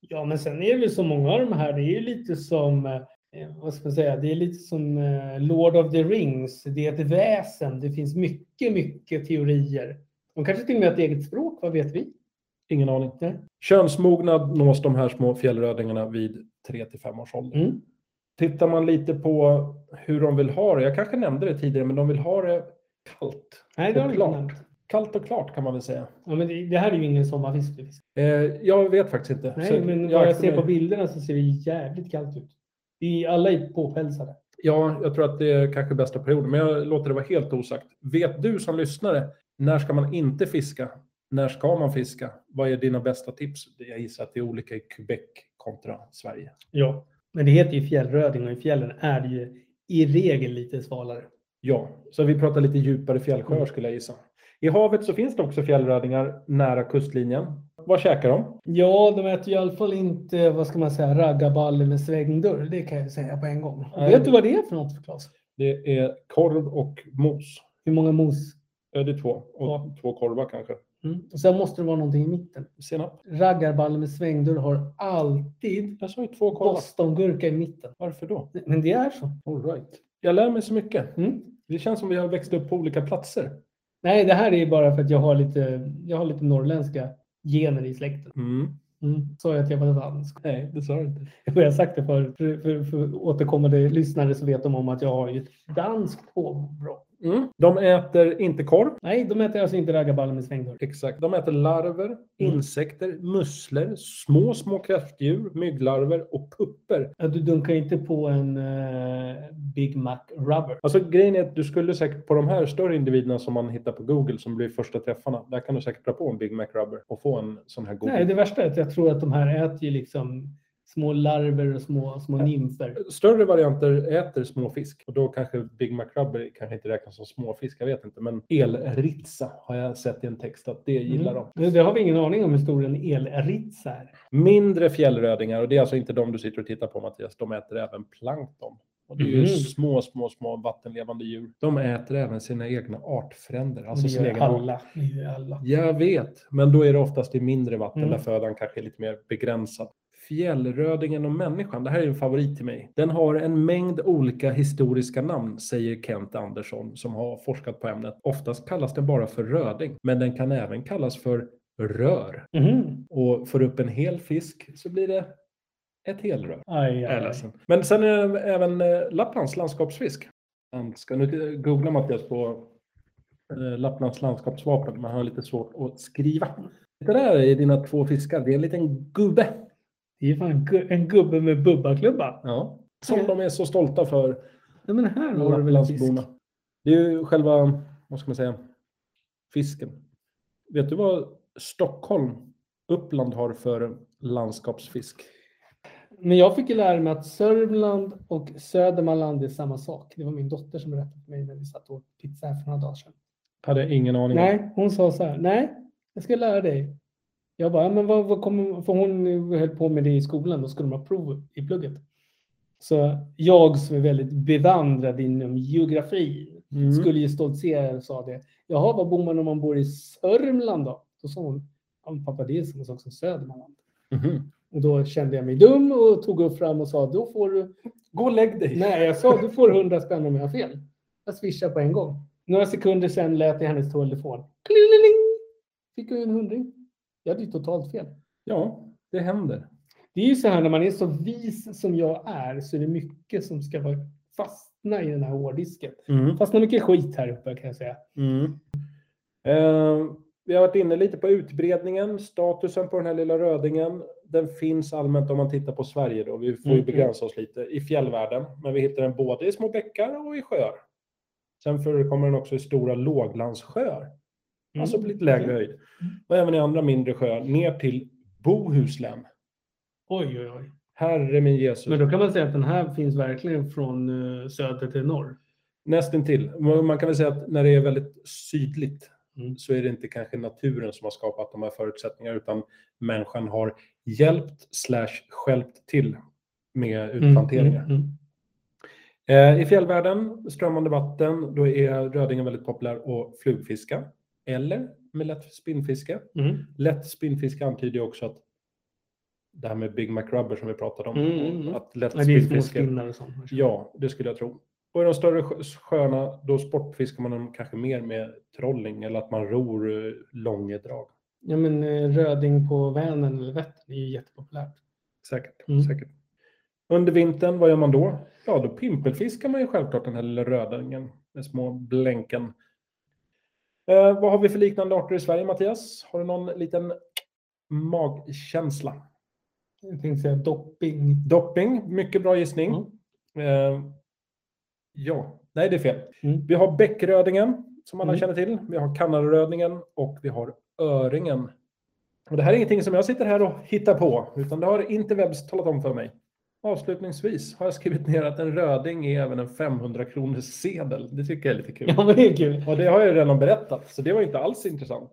Ja, men sen är det väl så många av de här, det är ju lite som, eh, vad ska man säga, det är lite som eh, Lord of the Rings. Det är ett väsen. Det finns mycket, mycket teorier. De kanske till och med har ett eget språk, vad vet vi?
Ingen aning.
Nej.
Könsmognad nås de här små fjällrödingarna vid 3 till 5 års ålder.
Mm.
Tittar man lite på hur de vill ha det. Jag kanske nämnde det tidigare, men de vill ha det kallt.
Nej, det har vi inte
Klart.
nämnt.
Kallt och klart kan man väl säga.
Ja, men det, det här är ju ingen sommarfisk. vi fiskar.
Eh, jag vet faktiskt inte.
Nej,
Så
men vad jag
aktar
ser
mig.
på bilderna så ser det jävligt kallt ut. Vi alla är påpälsade.
Ja, jag tror att det är kanske bästa perioden, men jag låter det vara helt osagt. Vet du som lyssnare, när ska man inte fiska? När ska man fiska? Vad är dina bästa tips? Jag gissar att det är olika i Quebec kontra Sverige.
Ja. Men det heter ju fjällröding och i fjällen är det ju i regel lite svalare.
Ja, så vi pratar lite djupare
Mm.
fjällsjöar skulle jag gissa. I havet så finns det också fjällrödingar nära kustlinjen. Vad käkar de?
Ja, de äter ju i alla fall inte, vad ska man säga, raggarballe med svängdörr. Det kan jag ju säga på en gång.
Nej.
Vet du vad det är för något, Claes?
Det är korv och mos.
Hur många mos?
Ja, Det är två. Och två korvar kanske.
Mm. Och sen måste det vara någonting i mitten.
Senap.
Raggarballe med svängdörr har alltid
Jag sa ju två korvar.
bostongurka i mitten.
Varför då?
Men det är så.
All right. Jag lär mig så mycket.
Mm.
Det känns som vi har växt upp på olika platser.
Nej, det här är ju bara för att jag har lite, jag har lite norrländska gener i släkten.
Mm.
Mm. Så jag att jag var dansk.
Nej, det sa du inte.
Och Jag har sagt det för, för, för, för återkommande lyssnare så vet de om att jag har ju ett danskt påbrå.
Mm. De äter inte korv.
Nej, de äter alltså inte raggarballe med svängdörr.
Exakt. Mm. De äter larver, insekter, musslor, små, små kräftdjur, mygglarver och pupper.
Ja, Du dunkar inte på en eh, Big Mac Rubber.
Alltså grejen är att du skulle säkert på de här större individerna som man hittar på Google som blir första träffarna. Där kan du säkert dra på en Big Mac Rubber och få en sån här god.
Nej, det värsta är att jag tror att de här äter ju liksom små larver och små, små nymfer.
Större varianter äter småfisk och då kanske Big Mac Rubber kanske inte räknas som småfisk, jag vet inte. Men elritsa har jag sett i en text att det gillar de.
Mm. Det har vi ingen aning om hur stor en elritz är.
Mindre fjällrödingar, och det är alltså inte de du sitter och tittar på Mattias, de äter även plankton. Och det är ju
Mhm.
små, små, små vattenlevande djur. De äter även sina egna artfränder, alltså
Det
sin
gör
egen art.
alla. Det gör alla.
Jag vet, men då är det oftast i mindre vatten
Mm.
där födan kanske är lite mer begränsad. Fjällrödingen och människan, det här är en favorit till mig. Den har en mängd olika historiska namn, säger Kent Andersson som har forskat på ämnet. Oftast kallas den bara för röding, men den kan även kallas för rör.
Mhm.
Och får upp en hel fisk så blir det ett helrör.
Aj,
Jag är
aj, aj.
ledsen. Men sen är det även eh, Lapplands landskapsfisk. Man ska nu googla Mattias på eh, Lapplands landskapsvapen. Man har lite svårt att skriva. Det där är dina två fiskar. Det är en liten gubbe.
Det är ju fan gu- en gubbe med bubbaklubba.
Ja. Som de är så stolta för.
Nej, men här har du väl en fisk?
Lapplandsborna. Det är ju själva, vad ska man säga, fisken. Vet du vad Stockholm, Uppland har för landskapsfisk?
Men jag fick ju lära mig att Sörmland och Södermanland är samma sak. Det var min dotter som berättade för mig när vi satt och åt pizza här för några dagar sedan.
Hade jag ingen aning om.
Nej, hon sa så här. Nej, jag ska lära dig. Jag bara, "Ja, men vad, vad kommer, för hon höll på med det i skolan, då skulle de ha prov i plugget. Så jag som är väldigt bevandrad inom geografi
Mm.
skulle ju stoltsera och sa det. Jaha, var bor man om man bor i Sörmland då? Då sa hon, ja men pappa det är samma sak som Södermanland.
Mhm.
Och då kände jag mig dum och tog upp fram och sa, då får du,
Gå och lägg dig.
nej jag sa, du får 100 spänn om jag har fel. Jag swishar på en gång. Några sekunder sen lät jag hennes telefon. Klingeling! Fick jag ju en hundring. Jag hade ju totalt fel.
Ja, det händer.
Det är ju så här när man är så vis som jag är så är det mycket som ska vara fastna i den här hårddisken.
Mm,
Fastnar mycket skit här uppe kan jag säga.
Eh, mm. vi har varit inne lite på utbredningen, statusen på den här lilla rödingen. Den finns allmänt om man tittar på Sverige då. Vi får ju
Mm.
begränsa oss lite i fjällvärlden, men vi hittar den både i små bäckar och i sjöar. Sen förekommer den också i stora låglandssjöar,
Mm.
alltså på lite lägre höjd. Och även i andra mindre sjöar, ner till Bohuslän.
Oj, oj, oj.
Herre min Jesus.
Men då kan man säga att den här finns verkligen från eh, söder till norr.
Nästintill. Man man kan väl säga att när det är väldigt sydligt
Mm.
så är det inte kanske naturen som har skapat de här förutsättningarna utan människan har hjälpt slash skälpt till med utplanteringar.
Mm, mm,
Eh, I fjällvärlden, strömmande vatten, då är rödingen väldigt populär att flugfiska eller med lätt spinnfiske.
mm,
Lätt spinnfiske antyder ju också att det här med Big Mac Rubber som vi pratade om,
Mm, mm, mm.
att lätt
Nej, Det är små
spinnfiske
spinnar och sånt.
Ja, det skulle jag tro. Och i de större sjö- sjöarna, då sportfiskar man dem kanske mer med trolling eller att man ror eh, långedrag.
Ja, men eh, röding på Vänern eller Vättern är ju jättepopulärt.
Säkert,
Mm.
säkert. Under vintern, vad gör man då? Ja, då pimpelfiskar man ju självklart den här lilla rödingen med små blänken. Eh, vad har vi för liknande arter i Sverige, Mattias? Har du någon liten magkänsla?
Jag tänkte säga dopping.
Dopping, mycket bra gissning.
Mm.
Eh, ja, nej det är fel.
Mm.
Vi har bäckrödingen som alla
Mm.
känner till. Vi har kanarörödingen och vi har öringen. Och det här är ingenting som jag sitter här och hittar på, utan det har interwebs talat om för mig. Avslutningsvis har jag skrivit ner att en röding är även en 500 kronors sedel. Det tycker jag är lite kul.
Ja, men det är kul.
Och det har jag ju redan berättat, så det var inte alls intressant.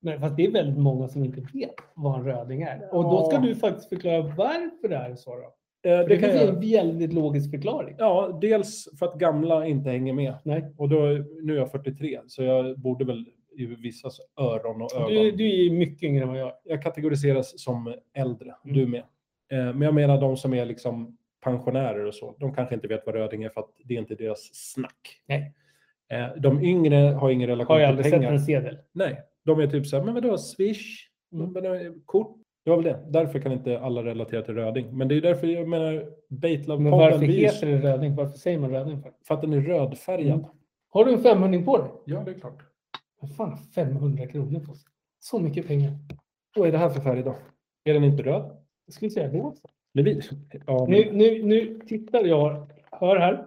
Men fast det är väldigt många som inte vet vad en röding är. Och då ska
Ja.
du faktiskt förklara varför det är så. Då.
Eh,
För det
Det kan
finns
jag.
en väldigt logisk förklaring.
Ja, dels för att gamla inte hänger med.
Nej.
Och då, nu är jag 43, så jag borde väl i vissas öron och ögon.
Du, du är ju mycket yngre än vad jag är.
Jag kategoriseras som äldre,
Mm.
du med. Eh, Men jag menar de som är liksom pensionärer och så. De kanske inte vet vad röding är för att det är inte deras snack.
Nej.
Eh, De yngre har ingen relation
Har jag
till
aldrig sett
pengar.
en sedel.
Nej, de är typ så här, men vadå, swish,
Mm.
men, eh, kort. Det var väl det. Därför kan inte alla relatera till röding. Men det är därför jag menar
Men
Baitlove-podden
varför
blir ju
heter det röding? Varför säger man röding? För?
för att den är rödfärgad.
Mm. Har du en 500 på dig?
Ja, det är klart.
Vad fan har 500 kronor på sig? Så mycket pengar.
Vad är det här för färg då? Är den inte röd?
Jag skulle säga det också.
Det blir. Ja, men-
Nu, nu, nu tittar jag. Hör här.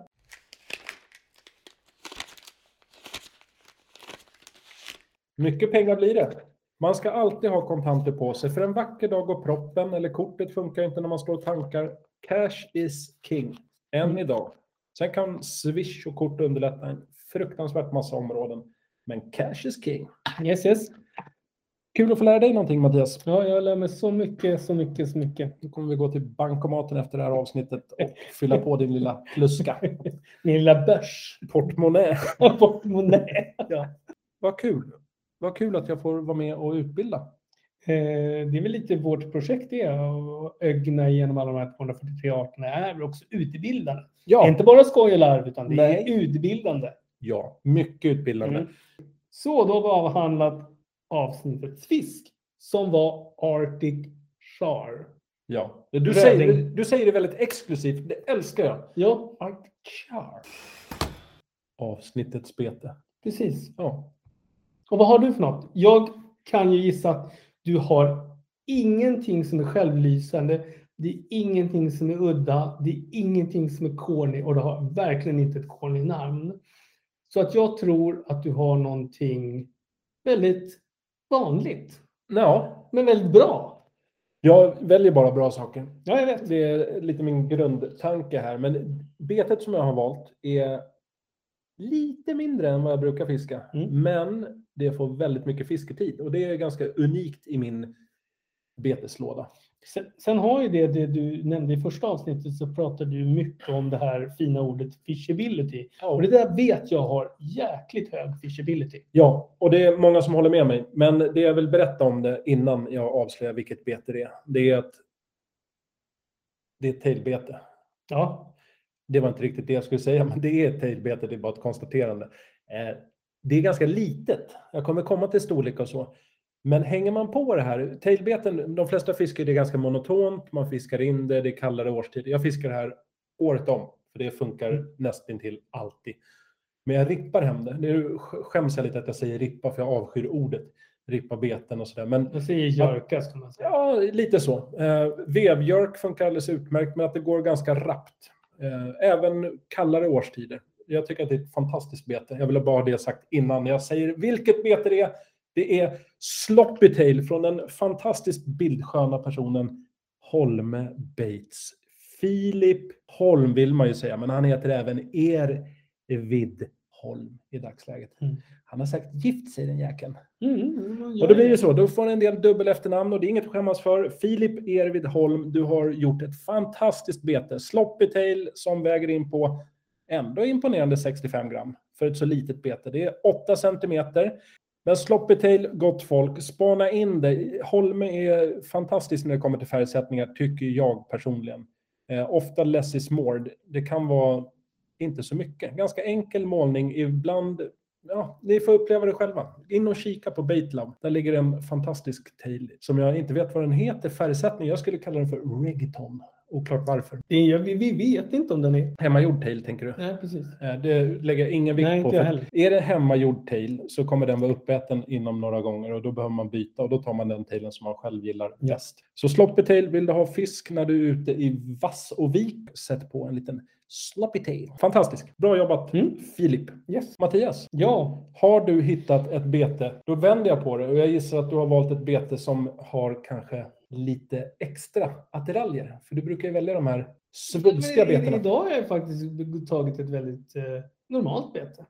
Mycket pengar blir det. Man ska alltid ha kontanter på sig, för en vacker dag går proppen eller kortet funkar inte när man slår tankar. Cash is king, än idag. Sen kan Swish och kort underlätta en fruktansvärt massa områden, men cash is king.
Yes, yes.
Kul att få lära dig någonting Mattias.
Ja, jag lär mig så mycket, så mycket, så mycket.
Nu kommer vi gå till bankomaten efter det här avsnittet och fylla på din lilla pluska.
Min lilla börs.
Portmonnä.
Portmonnä. Ja.
Vad kul. Vad kul att jag får vara med och utbilda.
Eh, Det är väl lite vårt projekt det, att ögna igenom alla de här 243 arterna är väl också utbildande.
Ja,
Inte bara skoj och larv, utan det
Nej.
är utbildande.
ja mycket utbildande.
Mm. Så då har vi avhandlat avsnittets fisk som var Arctic Char.
Ja. Du,
Röding.
säger, du säger det väldigt exklusivt. Det älskar jag.
Ja,
Artichar. Avsnittets bete.
precis.
Ja.
Och vad har du för något? Jag kan ju gissa att du har ingenting som är självlysande. Det är ingenting som är udda. Det är ingenting som är corny och du har verkligen inte ett corny namn. Så att jag tror att du har någonting väldigt vanligt,
ja.
men väldigt bra.
Jag väljer bara bra saker.
Ja, jag vet.
Det är lite min grundtanke här. Men betet som jag har valt är lite mindre än vad jag brukar fiska.
Mm.
Men det får väldigt mycket fisketid. Och det är ganska unikt i min beteslåda.
Sen, sen har ju det, det du nämnde i första avsnittet så pratade du mycket om det här fina ordet fishability. Och det där vet jag har jäkligt hög fishability.
Ja, och det är många som håller med mig. Men det jag vill berätta om det innan jag avslöjar vilket bete det är, det är att det är ett tailbete.
Ja,
Det var inte riktigt det jag skulle säga, men det är ett tailbete, det är bara ett konstaterande. Eh, Det är ganska litet. Jag kommer komma till storlek och så. Men hänger man på det här, tailbeten, de flesta fiskar det är ganska monotont, man fiskar in det, det är kallare årstid. Jag fiskar det här året om, för det funkar nästintill alltid. Men jag rippar hem det. Nu sk- skäms jag lite att jag säger rippa, för jag avskyr ordet rippa beten och sådär. Men
jag säger jerka ska man säga.
Ja, lite så. Eh, vevjörk funkar alldeles utmärkt, men att det går ganska rappt. Eh, även kallare årstider. Jag tycker att det är ett fantastiskt bete. Jag ville bara ha det sagt innan jag säger vilket bete det är. Det är Sloppy Tail från den fantastiskt bildsköna personen Holme Bates. Filip Holm vill man ju säga, men han heter även Ervid Holm i dagsläget.
Mm.
Han har säkert gift sig den jäkeln.
Mm, man
Och
gör
då blir det så, då får ni en del dubbel efternamn och det är inget att skämmas för. Filip Ervid Holm, du har gjort ett fantastiskt bete. Sloppy tail som väger in på ändå imponerande 65 gram för ett så litet bete. Det är 8 centimeter. Men sloppy tail, gott folk, spana in det. Holme är fantastisk när det kommer till färgsättningar, tycker jag personligen. Eh, ofta less is more. Det- Det kan vara inte så mycket. Ganska enkel målning, ibland ja, ni får uppleva det själva. In och kika på Baitlab. Där ligger en fantastisk tail som jag inte vet vad den heter. Färgsättning. Jag skulle kalla den för reggaeton. Oklart varför.
Det gör vi, vi vet inte om den är...
Hemmagjord tail tänker du?
Nej, precis.
Eh, Det lägger jag ingen vikt
Nej,
på.
inte jag
för
heller.
Är det hemmagjord tail så kommer den vara uppäten inom några gånger och då behöver man byta och då tar man den tailen som man själv gillar
Ja.
bäst. Så sloppy tail, vill du ha fisk när du är ute i vass och vik, sätt på en liten sloppy tail. Fantastisk. Bra jobbat
Mm.
Filip.
Yes.
Mattias,
Ja,
har du hittat ett bete, då vänder jag på det och jag gissar att du har valt ett bete som har kanske lite extra attiraljer? För du brukar ju välja de här svulstiga
Men i-
betena.
Idag har jag faktiskt tagit ett väldigt eh, normalt bete.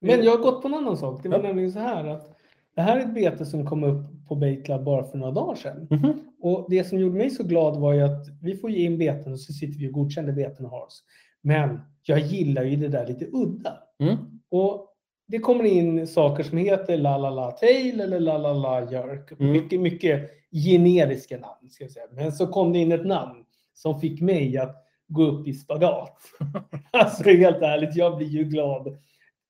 Men jag har gått på en annan sak. Det var
Ja.
nämligen så här att det här är ett bete som kom upp på Baitlab bara för några dagar sedan.
Mhm.
Och det som gjorde mig så glad var ju att vi får ge in beten och så sitter vi och godkänner beten och har oss. Men jag gillar ju det där lite udda.
Mm.
Och det kommer in saker som heter la la la tail eller la la la jerk.
Mm.
Mycket, mycket generiska namn ska jag säga. Men så kom det in ett namn som fick mig att gå upp i spagat. alltså helt ärligt, jag blir ju glad.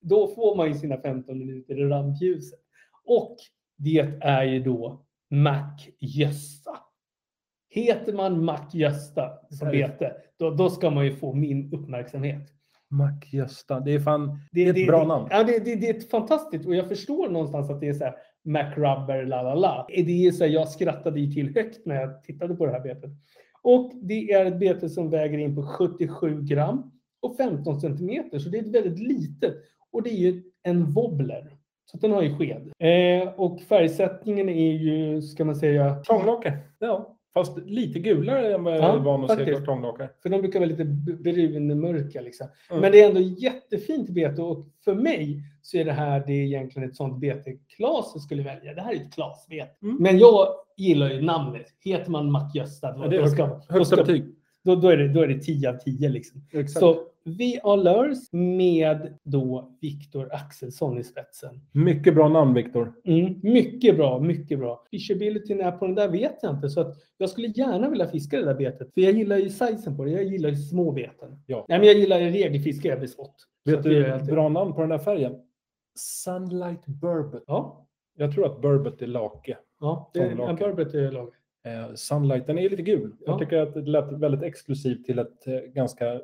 Då får man ju sina 15 minuter i rampljuset. Och det är ju då Mac-Gösta. Heter man Mac-Gösta som
Perfekt.
bete, då, då ska man ju få min uppmärksamhet.
Mac-Gösta. Det är fan det är ett bra namn.
Ja, det, det, det är ett fantastiskt och jag förstår någonstans att det är så här Mac Rubber, la la la. Det är så här, jag skrattade ju till högt när jag tittade på det här betet. Och det är ett bete som väger in på 77 gram och 15 centimeter, så det är ett väldigt litet. Och det är ju en wobbler, så att den har ju sked. Eh, och färgsättningen är ju, ska man säga,
Tånglake. Ja, fast lite gulare än vad jag
Ja,
är van att se
faktiskt.
på tånglake.
för de brukar vara lite b- brunmörka liksom.
Mm.
Men det är ändå jättefint bete och för mig så är det här det är egentligen ett sånt bete Klas skulle välja. Det här är ett Klas-bete.
Mm.
Men jag gillar ju namnet. Heter man Mac-Gösta då,
Ja, det är
då, ska- då,
Högsta
ska-
betyg.
då, då, är det- då är det 10 av 10 liksom.
Exakt.
Så vi har Lörs med då Viktor Axelsson i spetsen.
Mycket bra namn, Viktor.
Mm, mycket bra, mycket bra. Fishabilityn är på den där vet jag inte. Så att jag skulle gärna vilja fiska det där betet. För jag gillar ju sizen på det. Jag gillar ju små beten.
Ja.
Nej, men jag gillar ju regelfiske. Jag blir smått. Så
Vet
att det gör
du
jag
ett
alltid.
bra namn på den här färgen? Sunlight Burbot.
Ja,
Jag tror att Burbot är lake.
ja det är en
Tonglake.
burbot är lag.
Eh, Sunlight, den är lite gul.
Ja.
Jag tycker att det lät väldigt exklusivt till ett eh, ganska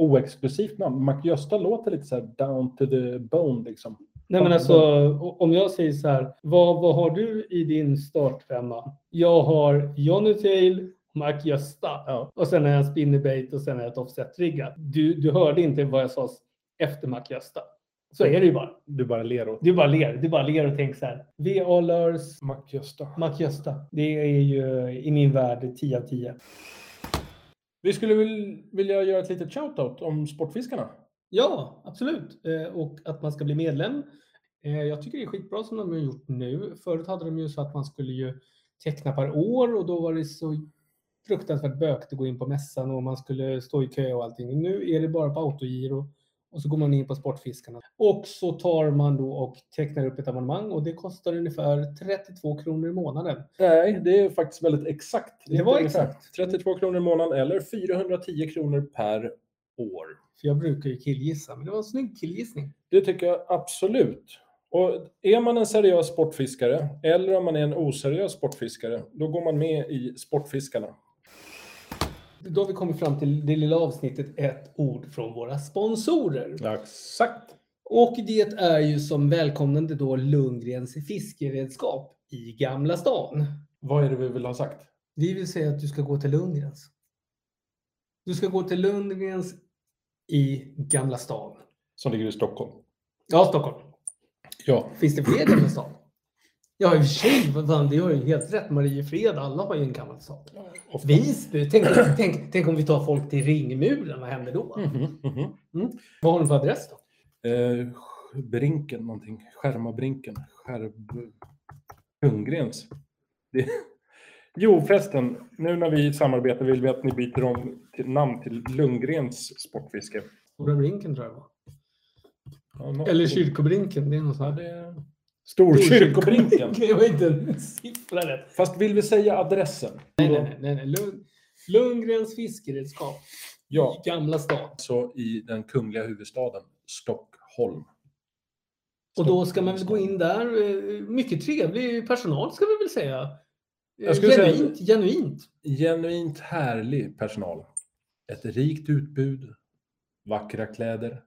oexklusivt namn. MacGösta låter lite så här down to the bone liksom.
Nej men alltså o- om jag säger så här. Vad, vad har du i din startfemma? Jag har Johnny Tail, Mark Gösta
Ja.
och sen har jag en spinnerbait och sen har jag ett offset-riggat. Du, du hörde inte vad jag sa efter Mark Gösta. Så är det ju bara.
Du bara ler åt
Du bara ler. Du bara ler och tänker så här. VA Lurs,
MacGösta.
Mark Gösta. Det är ju i min värld 10 av 10.
Vi skulle vil- vilja göra ett litet shoutout om Sportfiskarna.
Ja, absolut. Eh, Och att man ska bli medlem. Eh, Jag tycker det är skitbra som de har gjort nu. Förut hade de ju så att man skulle ju teckna per år och då var det så fruktansvärt bökigt att gå in på mässan och man skulle stå i kö och allting. Nu är det bara på autogiro och så går man in på Sportfiskarna. Och så tar man då och tecknar upp ett abonnemang och det kostar ungefär 32 kronor i månaden.
Nej, det är faktiskt väldigt exakt.
Det var
Inte
exakt.
32 kronor i månaden eller 410 kronor per år.
För jag brukar ju killgissa, men det var en snygg killgissning.
Det tycker jag absolut. Och är man en seriös sportfiskare eller om man är en oseriös sportfiskare, då går man med i Sportfiskarna.
Då har vi kommit fram till det lilla avsnittet ett ord från våra sponsorer.
Exakt.
Och det är ju som välkomnande då Lundgrens fiskeredskap i Gamla stan.
Vad är det vi vill ha sagt?
Vi vill säga att du ska gå till Lundgrens. Du ska gå till Lundgrens i Gamla stan.
Som ligger i Stockholm.
Ja, Stockholm.
Ja.
Finns det fler Gamla stan? Ja, i och för sig. vad fan, Det har ju helt rätt. Mariefred, alla har ju en Gamla stan.
ofta.
Visby. Tänk, tänk, tänk om vi tar folk till Ringmuren. Vad händer då?
Mhm, mhm.
Vad har de för adress då?
Eh, brinken någonting. Skärmabrinken. Skärb... Ljunggrens. Det... Jo förresten, nu när vi samarbetar vill vi att ni byter om till namn till Lundgrens Sportfiske.
Stora Brinken tror jag det var.
Ja, något-
Eller Kyrkobrinken. Det är något
Ja,
sånt.
det... Storkyrkobrinken.
Det var inte en siffra rätt.
Fast vill vi säga adressen?
Nej, nej, nej. nej, nej. Lund, Lundgrens fiskeredskap.
Ja,
I Gamla stan.
så Alltså i den kungliga huvudstaden Stockholm.
Och då ska man väl gå in där. eh, Mycket trevlig personal ska vi väl säga. Eh,
Jag skulle säga-
genuint, genuint.
Genuint härlig personal. Ett rikt utbud, vackra kläder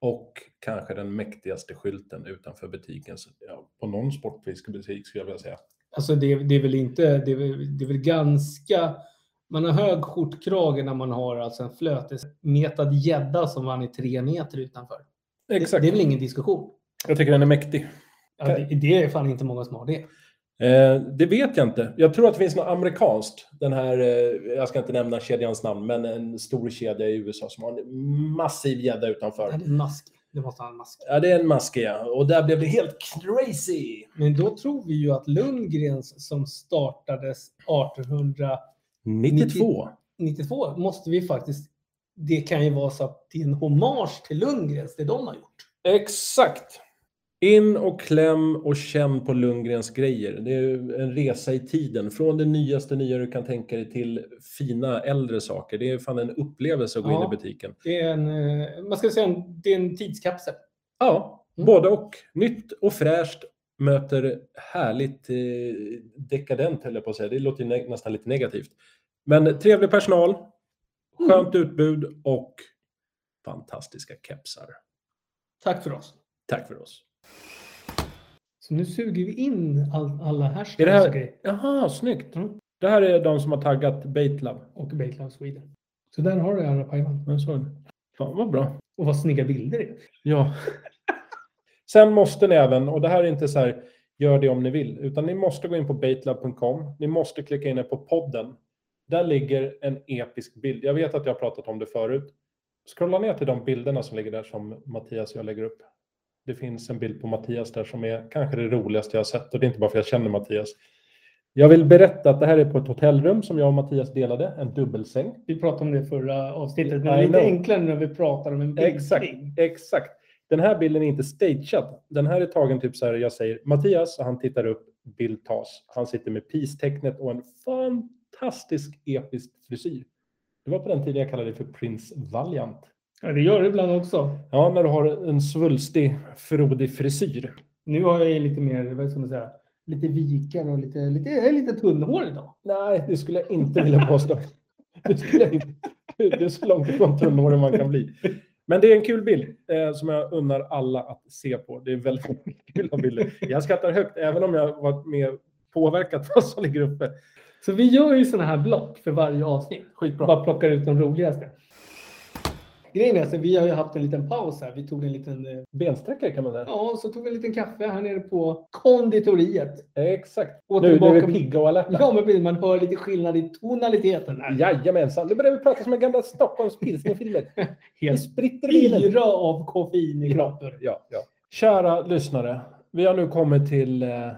och kanske den mäktigaste skylten utanför butiken. Så, ja, på någon sportfiskebutik skulle jag vilja säga.
Alltså det, det är väl inte, det är väl, det är väl ganska, man har hög skjortkrage när man har alltså en flötesmetad gädda som vann i tre meter utanför. Det,
Exakt.
det är väl ingen diskussion.
Jag tycker den är mäktig.
Ja, det, det är fan inte många som har det.
Eh, det vet jag inte. Jag tror att det finns något amerikanskt. Den här, eh, jag ska inte nämna kedjans namn, men en stor kedja i USA som har en massiv gädda utanför.
Han är mask. Det måste ha en mask.
Ja, det är en maske, ja. Och där blev det helt crazy.
Men då tror vi ju att Lundgrens som startades 1892
92.
måste vi faktiskt... Det kan ju vara så att det är en hommage till Lundgrens, det de har gjort.
Exakt. In och kläm och känn på Lundgrens grejer. Det är ju en resa i tiden. Från det nyaste nya du kan tänka dig till fina äldre saker. Det är fan en upplevelse att gå
Ja.
in i butiken.
Det är en, eh, man ska säga en, det är en tidskapsel.
Ja,
Mm.
både och. Nytt och fräscht möter härligt eh, dekadent, höll jag på att säga. Det låter ju nä- nästan lite negativt. Men trevlig personal, skönt utbud och fantastiska kepsar.
Tack för oss.
Tack för oss.
Så nu suger vi in all, alla
Är det
hashtags och
här...
grejer
Jaha, snyggt.
Mm.
Det här är de som har taggat Baitlab.
och Baitlab Sweden. Så där har du alla pajman.
Jag såg det. Fan vad bra.
Och vad snygga bilder det är.
Ja. Sen måste ni även, och det här är inte så här, gör det om ni vill, utan ni måste gå in på baitlab.com. Ni måste klicka in er på podden. Där ligger en episk bild. Jag vet att jag har pratat om det förut. Scrolla ner till de bilderna som ligger där som Mattias och jag lägger upp. Det finns en bild på Mattias där som är kanske det roligaste jag har sett och det är inte bara för att jag känner Mattias. Jag vill berätta att det här är på ett hotellrum som jag och Mattias delade, en dubbelsäng.
Vi pratade om det förra avsnittet, men det
I
är lite
know.
enklare när vi pratar om en bild.
Exakt, exakt. Den här bilden är inte stagead. Den här är tagen typ så här, jag säger Mattias, och han tittar upp, bild tas. Han sitter med peace-tecknet och en fantastisk episk frisyr. Det var på den tiden jag kallade det för Prince Valiant.
Ja, det gör det ibland också.
Ja, när du har en svulstig, frodig frisyr.
Nu har jag ju lite mer, vad ska man säga, lite vikar och lite, lite, jag är lite tunnhårig idag.
Nej, det skulle jag inte vilja påstå. Det, skulle jag inte. det är så långt ifrån tunnhåren man kan bli. Men det är en kul bild eh, som jag unnar alla att se på. Det är väldigt kul bilder. Jag skrattar högt, även om jag varit med påverkat vad som ligger uppe.
Så vi gör ju sådana här block för varje avsnitt.
Skitbra.
Bara plockar ut de roligaste. Grejen är att vi har ju haft en liten paus här. Vi tog en liten, eh,
Bensträckare kan man säga.
ja, så tog vi en liten kaffe här nere på konditoriet.
Exakt.
Och
Nu, nu är
tillbaka-
vi pigga och alerta.
Ja, men precis, man hör lite skillnad i tonaliteten här.
Jajamensan, nu börjar vi prata som en gamla Stockholms pilsnerfilmer. Vi
Helt
spritter bilen.
spira av koffein i kroppen.
Ja, ja. Kära lyssnare, vi har nu kommit till eh,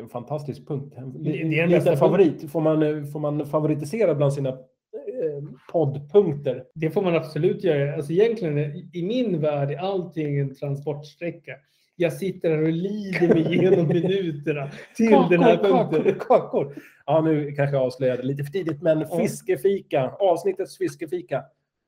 en fantastisk punkt. En
det är
li-
den bästa
liten favorit. Får man, eh, får man favoritisera bland sina eh, poddpunkter?
Det får man absolut göra. Alltså egentligen i- i min värld är allting en transportsträcka. Jag sitter här och lider mig igenom minuterna till den här punkten.
kakor, kakor. Ja, nu kanske jag avslöjade lite för tidigt, men
Ja.
fiskefika. Avsnittets fiskefika.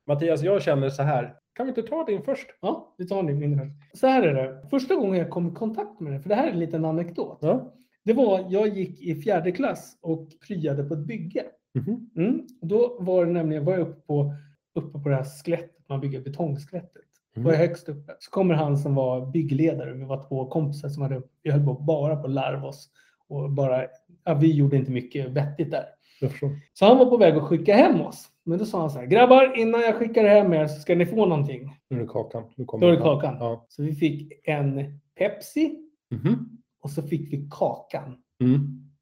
Mattias, jag känner så här. Kan vi inte ta din först?
Ja, vi tar min min först. Så här är det. Första gången jag kom i kontakt med det, för det här är en liten anekdot.
Ja.
Det var, jag gick i fjärde klass och pryade på ett bygge.
Mhm.
Mm. Och Då var det nämligen, var jag uppe på, uppe på det här skelettet, man bygger betongsklättet.
Mm.
Var jag högst uppe. Så kommer han som var byggledare, vi var två kompisar som hade, vi höll på bara på att larva oss. Och bara, ja, vi gjorde inte mycket vettigt där.
Jag förstår.
Så han var på väg att skicka hem oss. Men då sa han så här, grabbar innan jag skickar hem er så ska ni få någonting.
Nu är det kakan. Nu kommer
Då är det
den.
kakan.
Ja.
Så vi fick en Pepsi
Mhm.
och så fick vi kakan.
Mm.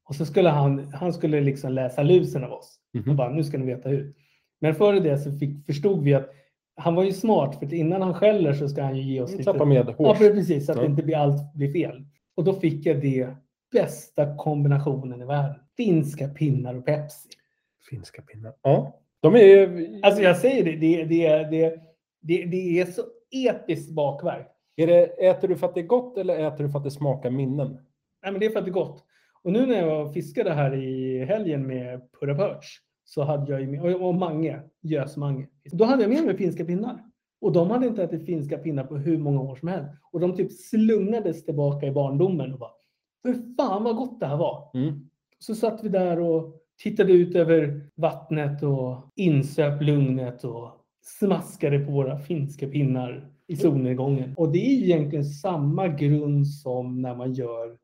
Och så skulle han, han skulle liksom läsa lusen av oss.
Mhm.
Och bara, nu ska ni veta hur. Men före det så fick, förstod vi att han var ju smart, för att innan han skäller så ska han ju ge oss lite...
Tappa med
Ja,
hårs.
precis. Så att
Ja.
det inte blir allt blir fel. Och då fick jag det bästa kombinationen i världen. Finska pinnar och Pepsi.
Finska pinnar. Ja. De är ju...
Alltså jag säger det, det, det, det, det, det är så episkt bakverk.
Är det, äter du för att det är gott eller äter du för att det smakar minnen?
Nej, men det är för att det är gott. Och nu när jag var och fiskade här i helgen med Purra Perch så hade jag ju med, och- och Mange, Gös-Mange. Då hade jag med mig finska pinnar. Och de hade inte ätit finska pinnar på hur många år som helst. Och de typ slungades tillbaka i barndomen och bara, för fan vad gott det här var.
Mm.
Så satt vi där och tittade ut över vattnet och insöp lugnet och smaskade på våra finska pinnar i solnedgången. Och det är ju egentligen samma grund som när man gör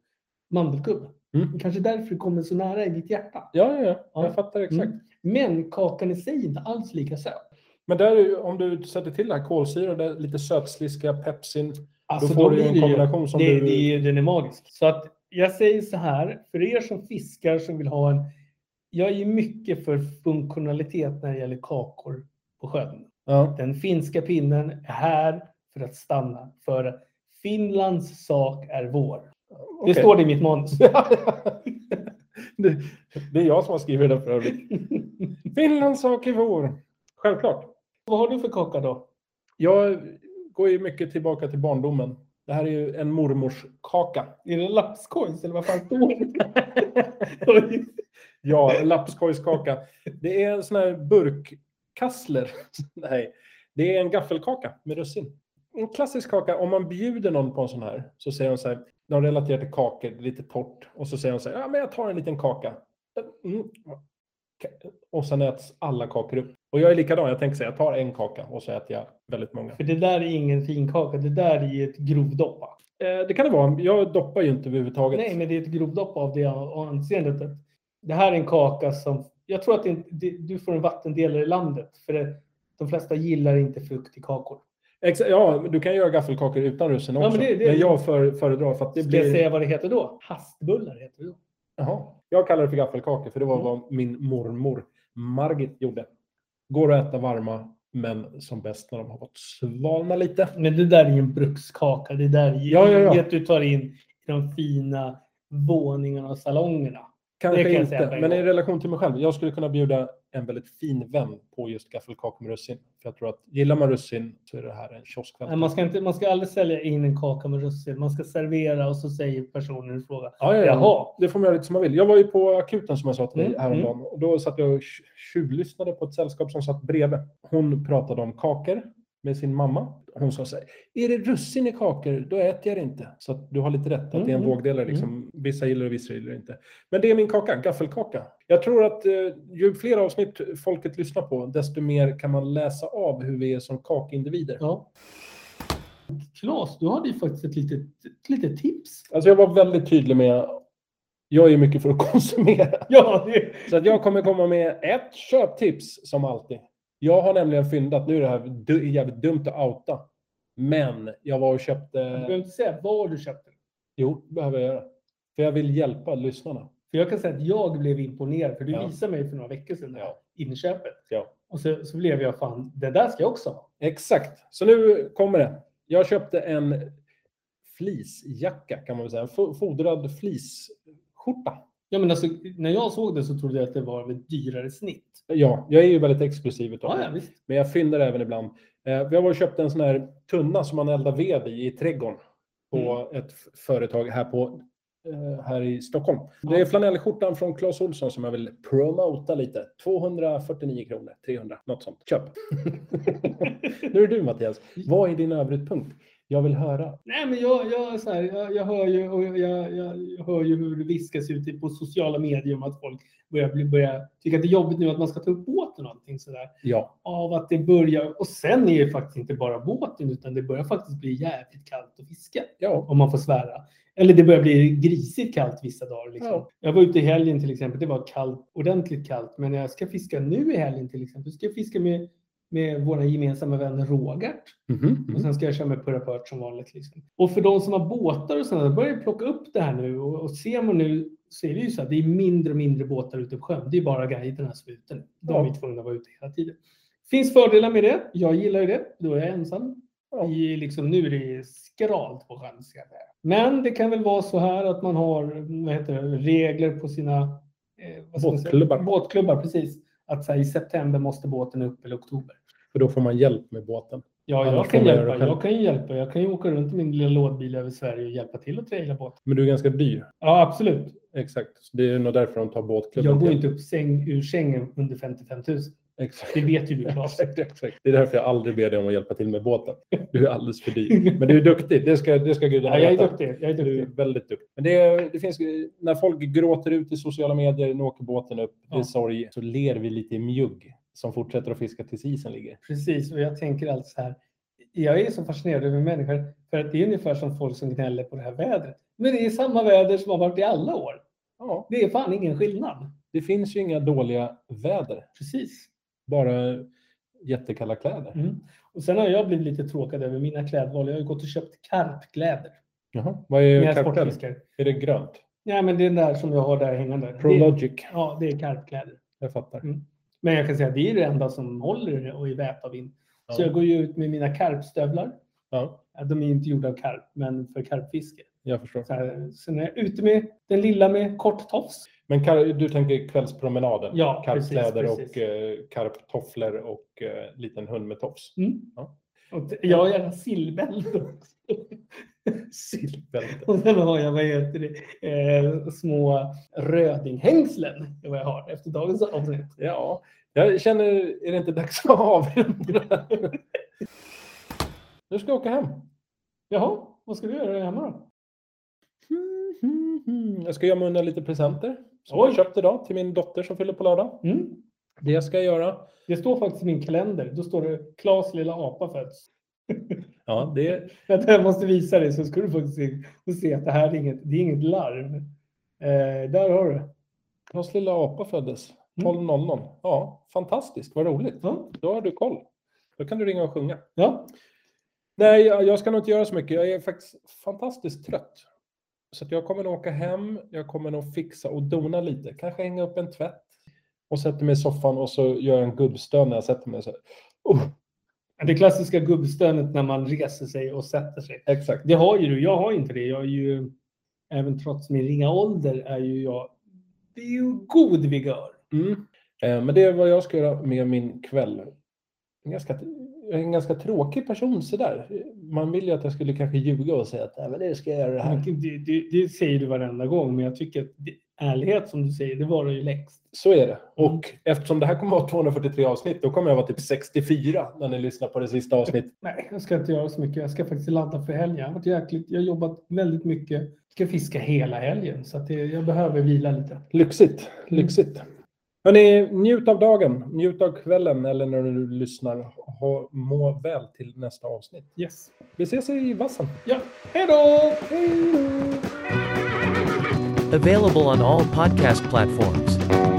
mandelkubb.
Mm.
Kanske därför det kommer så nära i ditt hjärta.
Ja, ja, ja,
Ja.
jag fattar exakt.
Mm. Men kakan i sig är inte alls lika söt.
Men där, är ju- om du sätter till det här kolsyra, det lite sötsliskiga pepsin,
Alltså,
då får du ju en
blir det ju-
kombination som
det,
du...
det, den är magisk. Så att jag säger så här, för er som fiskar som vill ha en... Jag är ju mycket för funktionalitet när det gäller kakor på sjön.
Ja.
Den finska pinnen är här för att stanna. För Finlands sak är vår. Det står det i mitt manus.
det, det är jag som har skrivit den för övrigt. Finlands sak är vår. Självklart.
Vad har du för kaka då?
Jag går ju mycket tillbaka till barndomen. Det här är ju en mormors kaka.
Är det lapskojs eller vad fan står det?
Ja, lapskojskaka. Det är en sån här burkkassler. Nej, det är en gaffelkaka med russin. En klassisk kaka, om man bjuder någon på en sån här så säger de så här, de relaterar till kakor, det är lite torrt. Och så säger de så här, ja men jag tar en liten kaka. Mm. Och sen äts alla kakor upp. Och jag är likadan, jag tänker så här, jag tar en kaka och så äter jag väldigt många.
För det där är ingen finkaka, det där är ett grovdopp. va?
Eh, Det kan det vara, jag doppar ju inte överhuvudtaget.
Nej, men det är ett grovdopp av det anseendet. att Det här är en kaka som... Jag tror att det, inte- det, du får en vattendelare i landet. För det, de flesta gillar inte frukt i kakor.
Exa- ja, du kan göra gaffelkakor utan russin också.
men det- det-
men jag för, föredrar för att det
Ska
blir...
jag säga vad det heter då? Hastbullar heter det då.
Jaha. Jag kallar det för gaffelkakor för det
Mm.
var vad min mormor Margit gjorde. Går att äta varma, men som bäst när de har fått svalna lite.
Men det där är ju en brukskaka. Det där är ju
Ja, ja, ja.
inget du tar in i de fina våningarna och salongerna.
Kanske
Det kan jag säga
inte,
på en
men
gång.
i relation till mig själv. Jag skulle kunna bjuda en väldigt fin vän på just gaffelkakor med russin. För jag tror att gillar man russin så är det här en
Nej,
kioskvän.
Man ska, inte, man ska aldrig sälja in en kaka med russin. Man ska servera och så säger personen i fråga.
Ja, ja,
Jaha.
ja. Det får man göra lite som man vill. Jag var ju på akuten som jag sa till dig
Mm,
häromdagen. Och då satt jag och tj- tjuvlyssnade på ett sällskap som satt bredvid. Hon pratade om kakor med sin mamma. Hon sa så här, är det russin i kakor, då äter jag det inte. Så att du har lite rätt, att det är en
Mm,
vågdelare. Liksom. Vissa gillar det, vissa gillar det inte. Men det är min kaka, gaffelkaka. Jag tror att eh, ju fler avsnitt folket lyssnar på, desto mer kan man läsa av hur vi är som kakindivider.
Ja. Klas, du hade ju faktiskt ett litet, ett litet tips.
Alltså jag var väldigt tydlig med, jag är mycket för att konsumera.
Ja, det,
Så att jag kommer komma med ett köptips som alltid. Jag har nämligen fyndat, nu är det här du, jävligt dumt att outa, men jag var och
du
köpte,
behöver inte säga var du köpte den.
jo, det behöver jag göra. För jag vill hjälpa lyssnarna.
För jag kan säga att jag blev imponerad, för du
Ja.
visade mig för några veckor sedan det här
Ja.
inköpet.
Ja.
Och så, så blev jag fan, det där ska jag också ha.
Exakt, så nu kommer det. Jag köpte en fleecejacka kan man väl säga, en fo- fodrad fleeceskjorta.
Ja, men alltså, när jag såg det så trodde jag att det var ett dyrare snitt.
Ja, jag är ju väldigt exklusiv utav
Ja, ja
det.
visst.
Men jag fyndar även ibland. Eh, Jag var och köpte en sån här tunna som man eldar ved i i trädgården på
Mm.
ett f- företag här, på, eh, här i Stockholm. Det är flanellskjortan från Clas Ohlson som jag vill promota lite. 249 kronor, 300, något sånt. Köp! nu är det du Mattias. Vad är din övrigpunkt? Jag vill höra.
Nej, men jag, jag, är så här, jag, jag, hör ju, och jag, jag, jag hör ju hur det viskas ute på sociala medier om att folk börjar, bli, börjar tycka att det är jobbigt nu att man ska ta upp båten och allting sådär.
Ja,
Av att det börjar, och sen är det faktiskt inte bara båten utan det börjar faktiskt bli jävligt kallt att fiska.
ja.
Om man får svära. Eller det börjar bli grisigt kallt vissa dagar. Liksom.
Ja.
Jag var ute i helgen till exempel. Det var kallt, ordentligt kallt. Men när jag ska fiska nu i helgen till exempel. Ska jag fiska med, med våra gemensamma vänner Rogart.
Mhm,
Och
mhm.
sen ska jag köra med purrapört som vanligt. Liksom. Och för de som har båtar och sådär, börjar jag plocka upp det här nu. Och, och ser man nu så är det ju så att det är mindre och mindre båtar ute på sjön. Det är bara guiderna som är ute nu. De är
Ja.
ju tvungna att vara ute hela tiden. finns fördelar med det. Jag gillar ju det. Då är jag ensam.
Ja.
I, liksom, nu är det skralt på sjön. ska jag säga. Men det kan väl vara så här att man har vad heter det, regler på sina eh, vad ska man säga?
Båtklubbar.
båtklubbar. Precis. Att så här, i september måste båten upp eller oktober.
För då får man hjälp med båten.
Ja,
Annars
jag
får
kan,
man göra det
hjälpa.
själv.
jag kan ju hjälpa. Jag kan ju åka runt i min lilla lådbil över Sverige och hjälpa till att traila båt.
Men du är ganska dyr.
Ja, absolut.
Exakt. Så det är nog därför de tar båtklubben.
Jag går ju
till.
inte upp säng, ur sängen under 55 000.
Exakt.
Det vet ju du Claes.
Exakt, exakt. Det är därför jag aldrig ber dig om att hjälpa till med båten. Du är alldeles för dyr. Men du är duktig, det ska, det ska gudarna
Ja, jag är
veta.
duktig. Jag är
Du är
duktig.
väldigt duktig. Men det, är- det finns, när folk gråter ut i sociala medier, nu åker båten upp, det är
Ja.
sorg, så ler vi lite i mjugg som fortsätter att fiska tills isen ligger.
Precis, och jag tänker alltid så här. Jag är så fascinerad över människor för att det är ungefär som folk som gnäller på det här vädret. Men det är samma väder som har varit i alla år.
Ja,
Det är fan ingen skillnad.
det finns ju inga dåliga väder,
Precis.
bara jättekalla kläder.
Mm. Och sen har jag blivit lite tråkad över mina klädval. Jag har ju gått och köpt karpkläder.
Jaha. Vad är
Mina
kartell?
sportfiskar.
Är det grönt?
Ja, men det är den där som jag har där hängande. Det,
Prologic.
ja, det är karpkläder.
Jag fattar.
Men jag kan säga att det är det enda som håller och är vävt av in. Så jag
Ja.
går ju ut med mina karpstövlar.
ja,
Ja, De är inte gjorda av karp, men för karpfiske.
jag förstår.
Så här, sen är jag ute med den lilla med kort tofs.
Men kar- du tänker kvällspromenaden?
Ja,
Karpkläder
precis,
och eh, karptofflor och eh, liten hund med tofs.
Mm.
Ja.
Och t- jag har gärna sillbälte också.
Silkbälte.
Och sen har jag, vad heter det, eh, små rödinghängslen. Det är vad jag har efter dagens avsnitt.
Ja, jag känner, är det inte dags att avrunda? Nu ska jag åka hem.
Jaha, vad ska du göra hemma då?
Jag ska gömma undan lite presenter som
Oj.
jag köpt idag till min dotter som fyller på lördag.
Mm.
Det ska jag göra.
Det står faktiskt i min kalender. Då står det Klas lilla apa föds.
Ja, det,
Vänta, Jag måste visa dig så ska du faktiskt se, få se att det här är inget, det är inget larv. Eh, där har du.
Hans lilla apa föddes
Mm.
12.00. Ja, fantastiskt. Vad roligt.
Ja.
Då har du koll. Då kan du ringa och sjunga.
ja.
Nej, jag jag ska nog inte göra så mycket. Jag är faktiskt fantastiskt trött. Så att jag kommer nog åka hem. Jag kommer nog fixa och dona lite. Kanske hänga upp en tvätt. Och sätter mig i soffan och så gör jag en gubbstön när jag sätter mig. Så här. Oh,
Det klassiska gubbstönet när man reser sig och sätter sig.
exakt.
Det har ju du. Jag har inte det. Jag är ju, även trots min ringa ålder, är ju jag det är ju god vigör.
Mm. Eh, Men det är vad jag ska göra med min kväll. En ganska, jag är en ganska tråkig person sådär. Man vill ju att jag skulle kanske ljuga och säga att "Nej, men det ska jag göra det här.
Det, det, det säger du varenda gång, men jag tycker att det, ärlighet som du säger, det var det ju längst.
Så är det. Och eftersom det här kommer att vara 243 avsnitt, då kommer jag vara typ 64 när ni lyssnar på det sista avsnittet.
Nej, jag ska inte göra så mycket. Jag ska faktiskt ladda för helgen. Jag har, varit jäkligt, jag har jobbat väldigt mycket. Jag ska fiska hela helgen, så att det, jag behöver vila lite.
Lyxigt, lyxigt. Hörrni, njut av dagen, njut av kvällen eller när du nu lyssnar. Ha, må väl till nästa avsnitt.
Yes.
Vi ses i vassen.
Ja, hej då!
Available on all podcast platforms.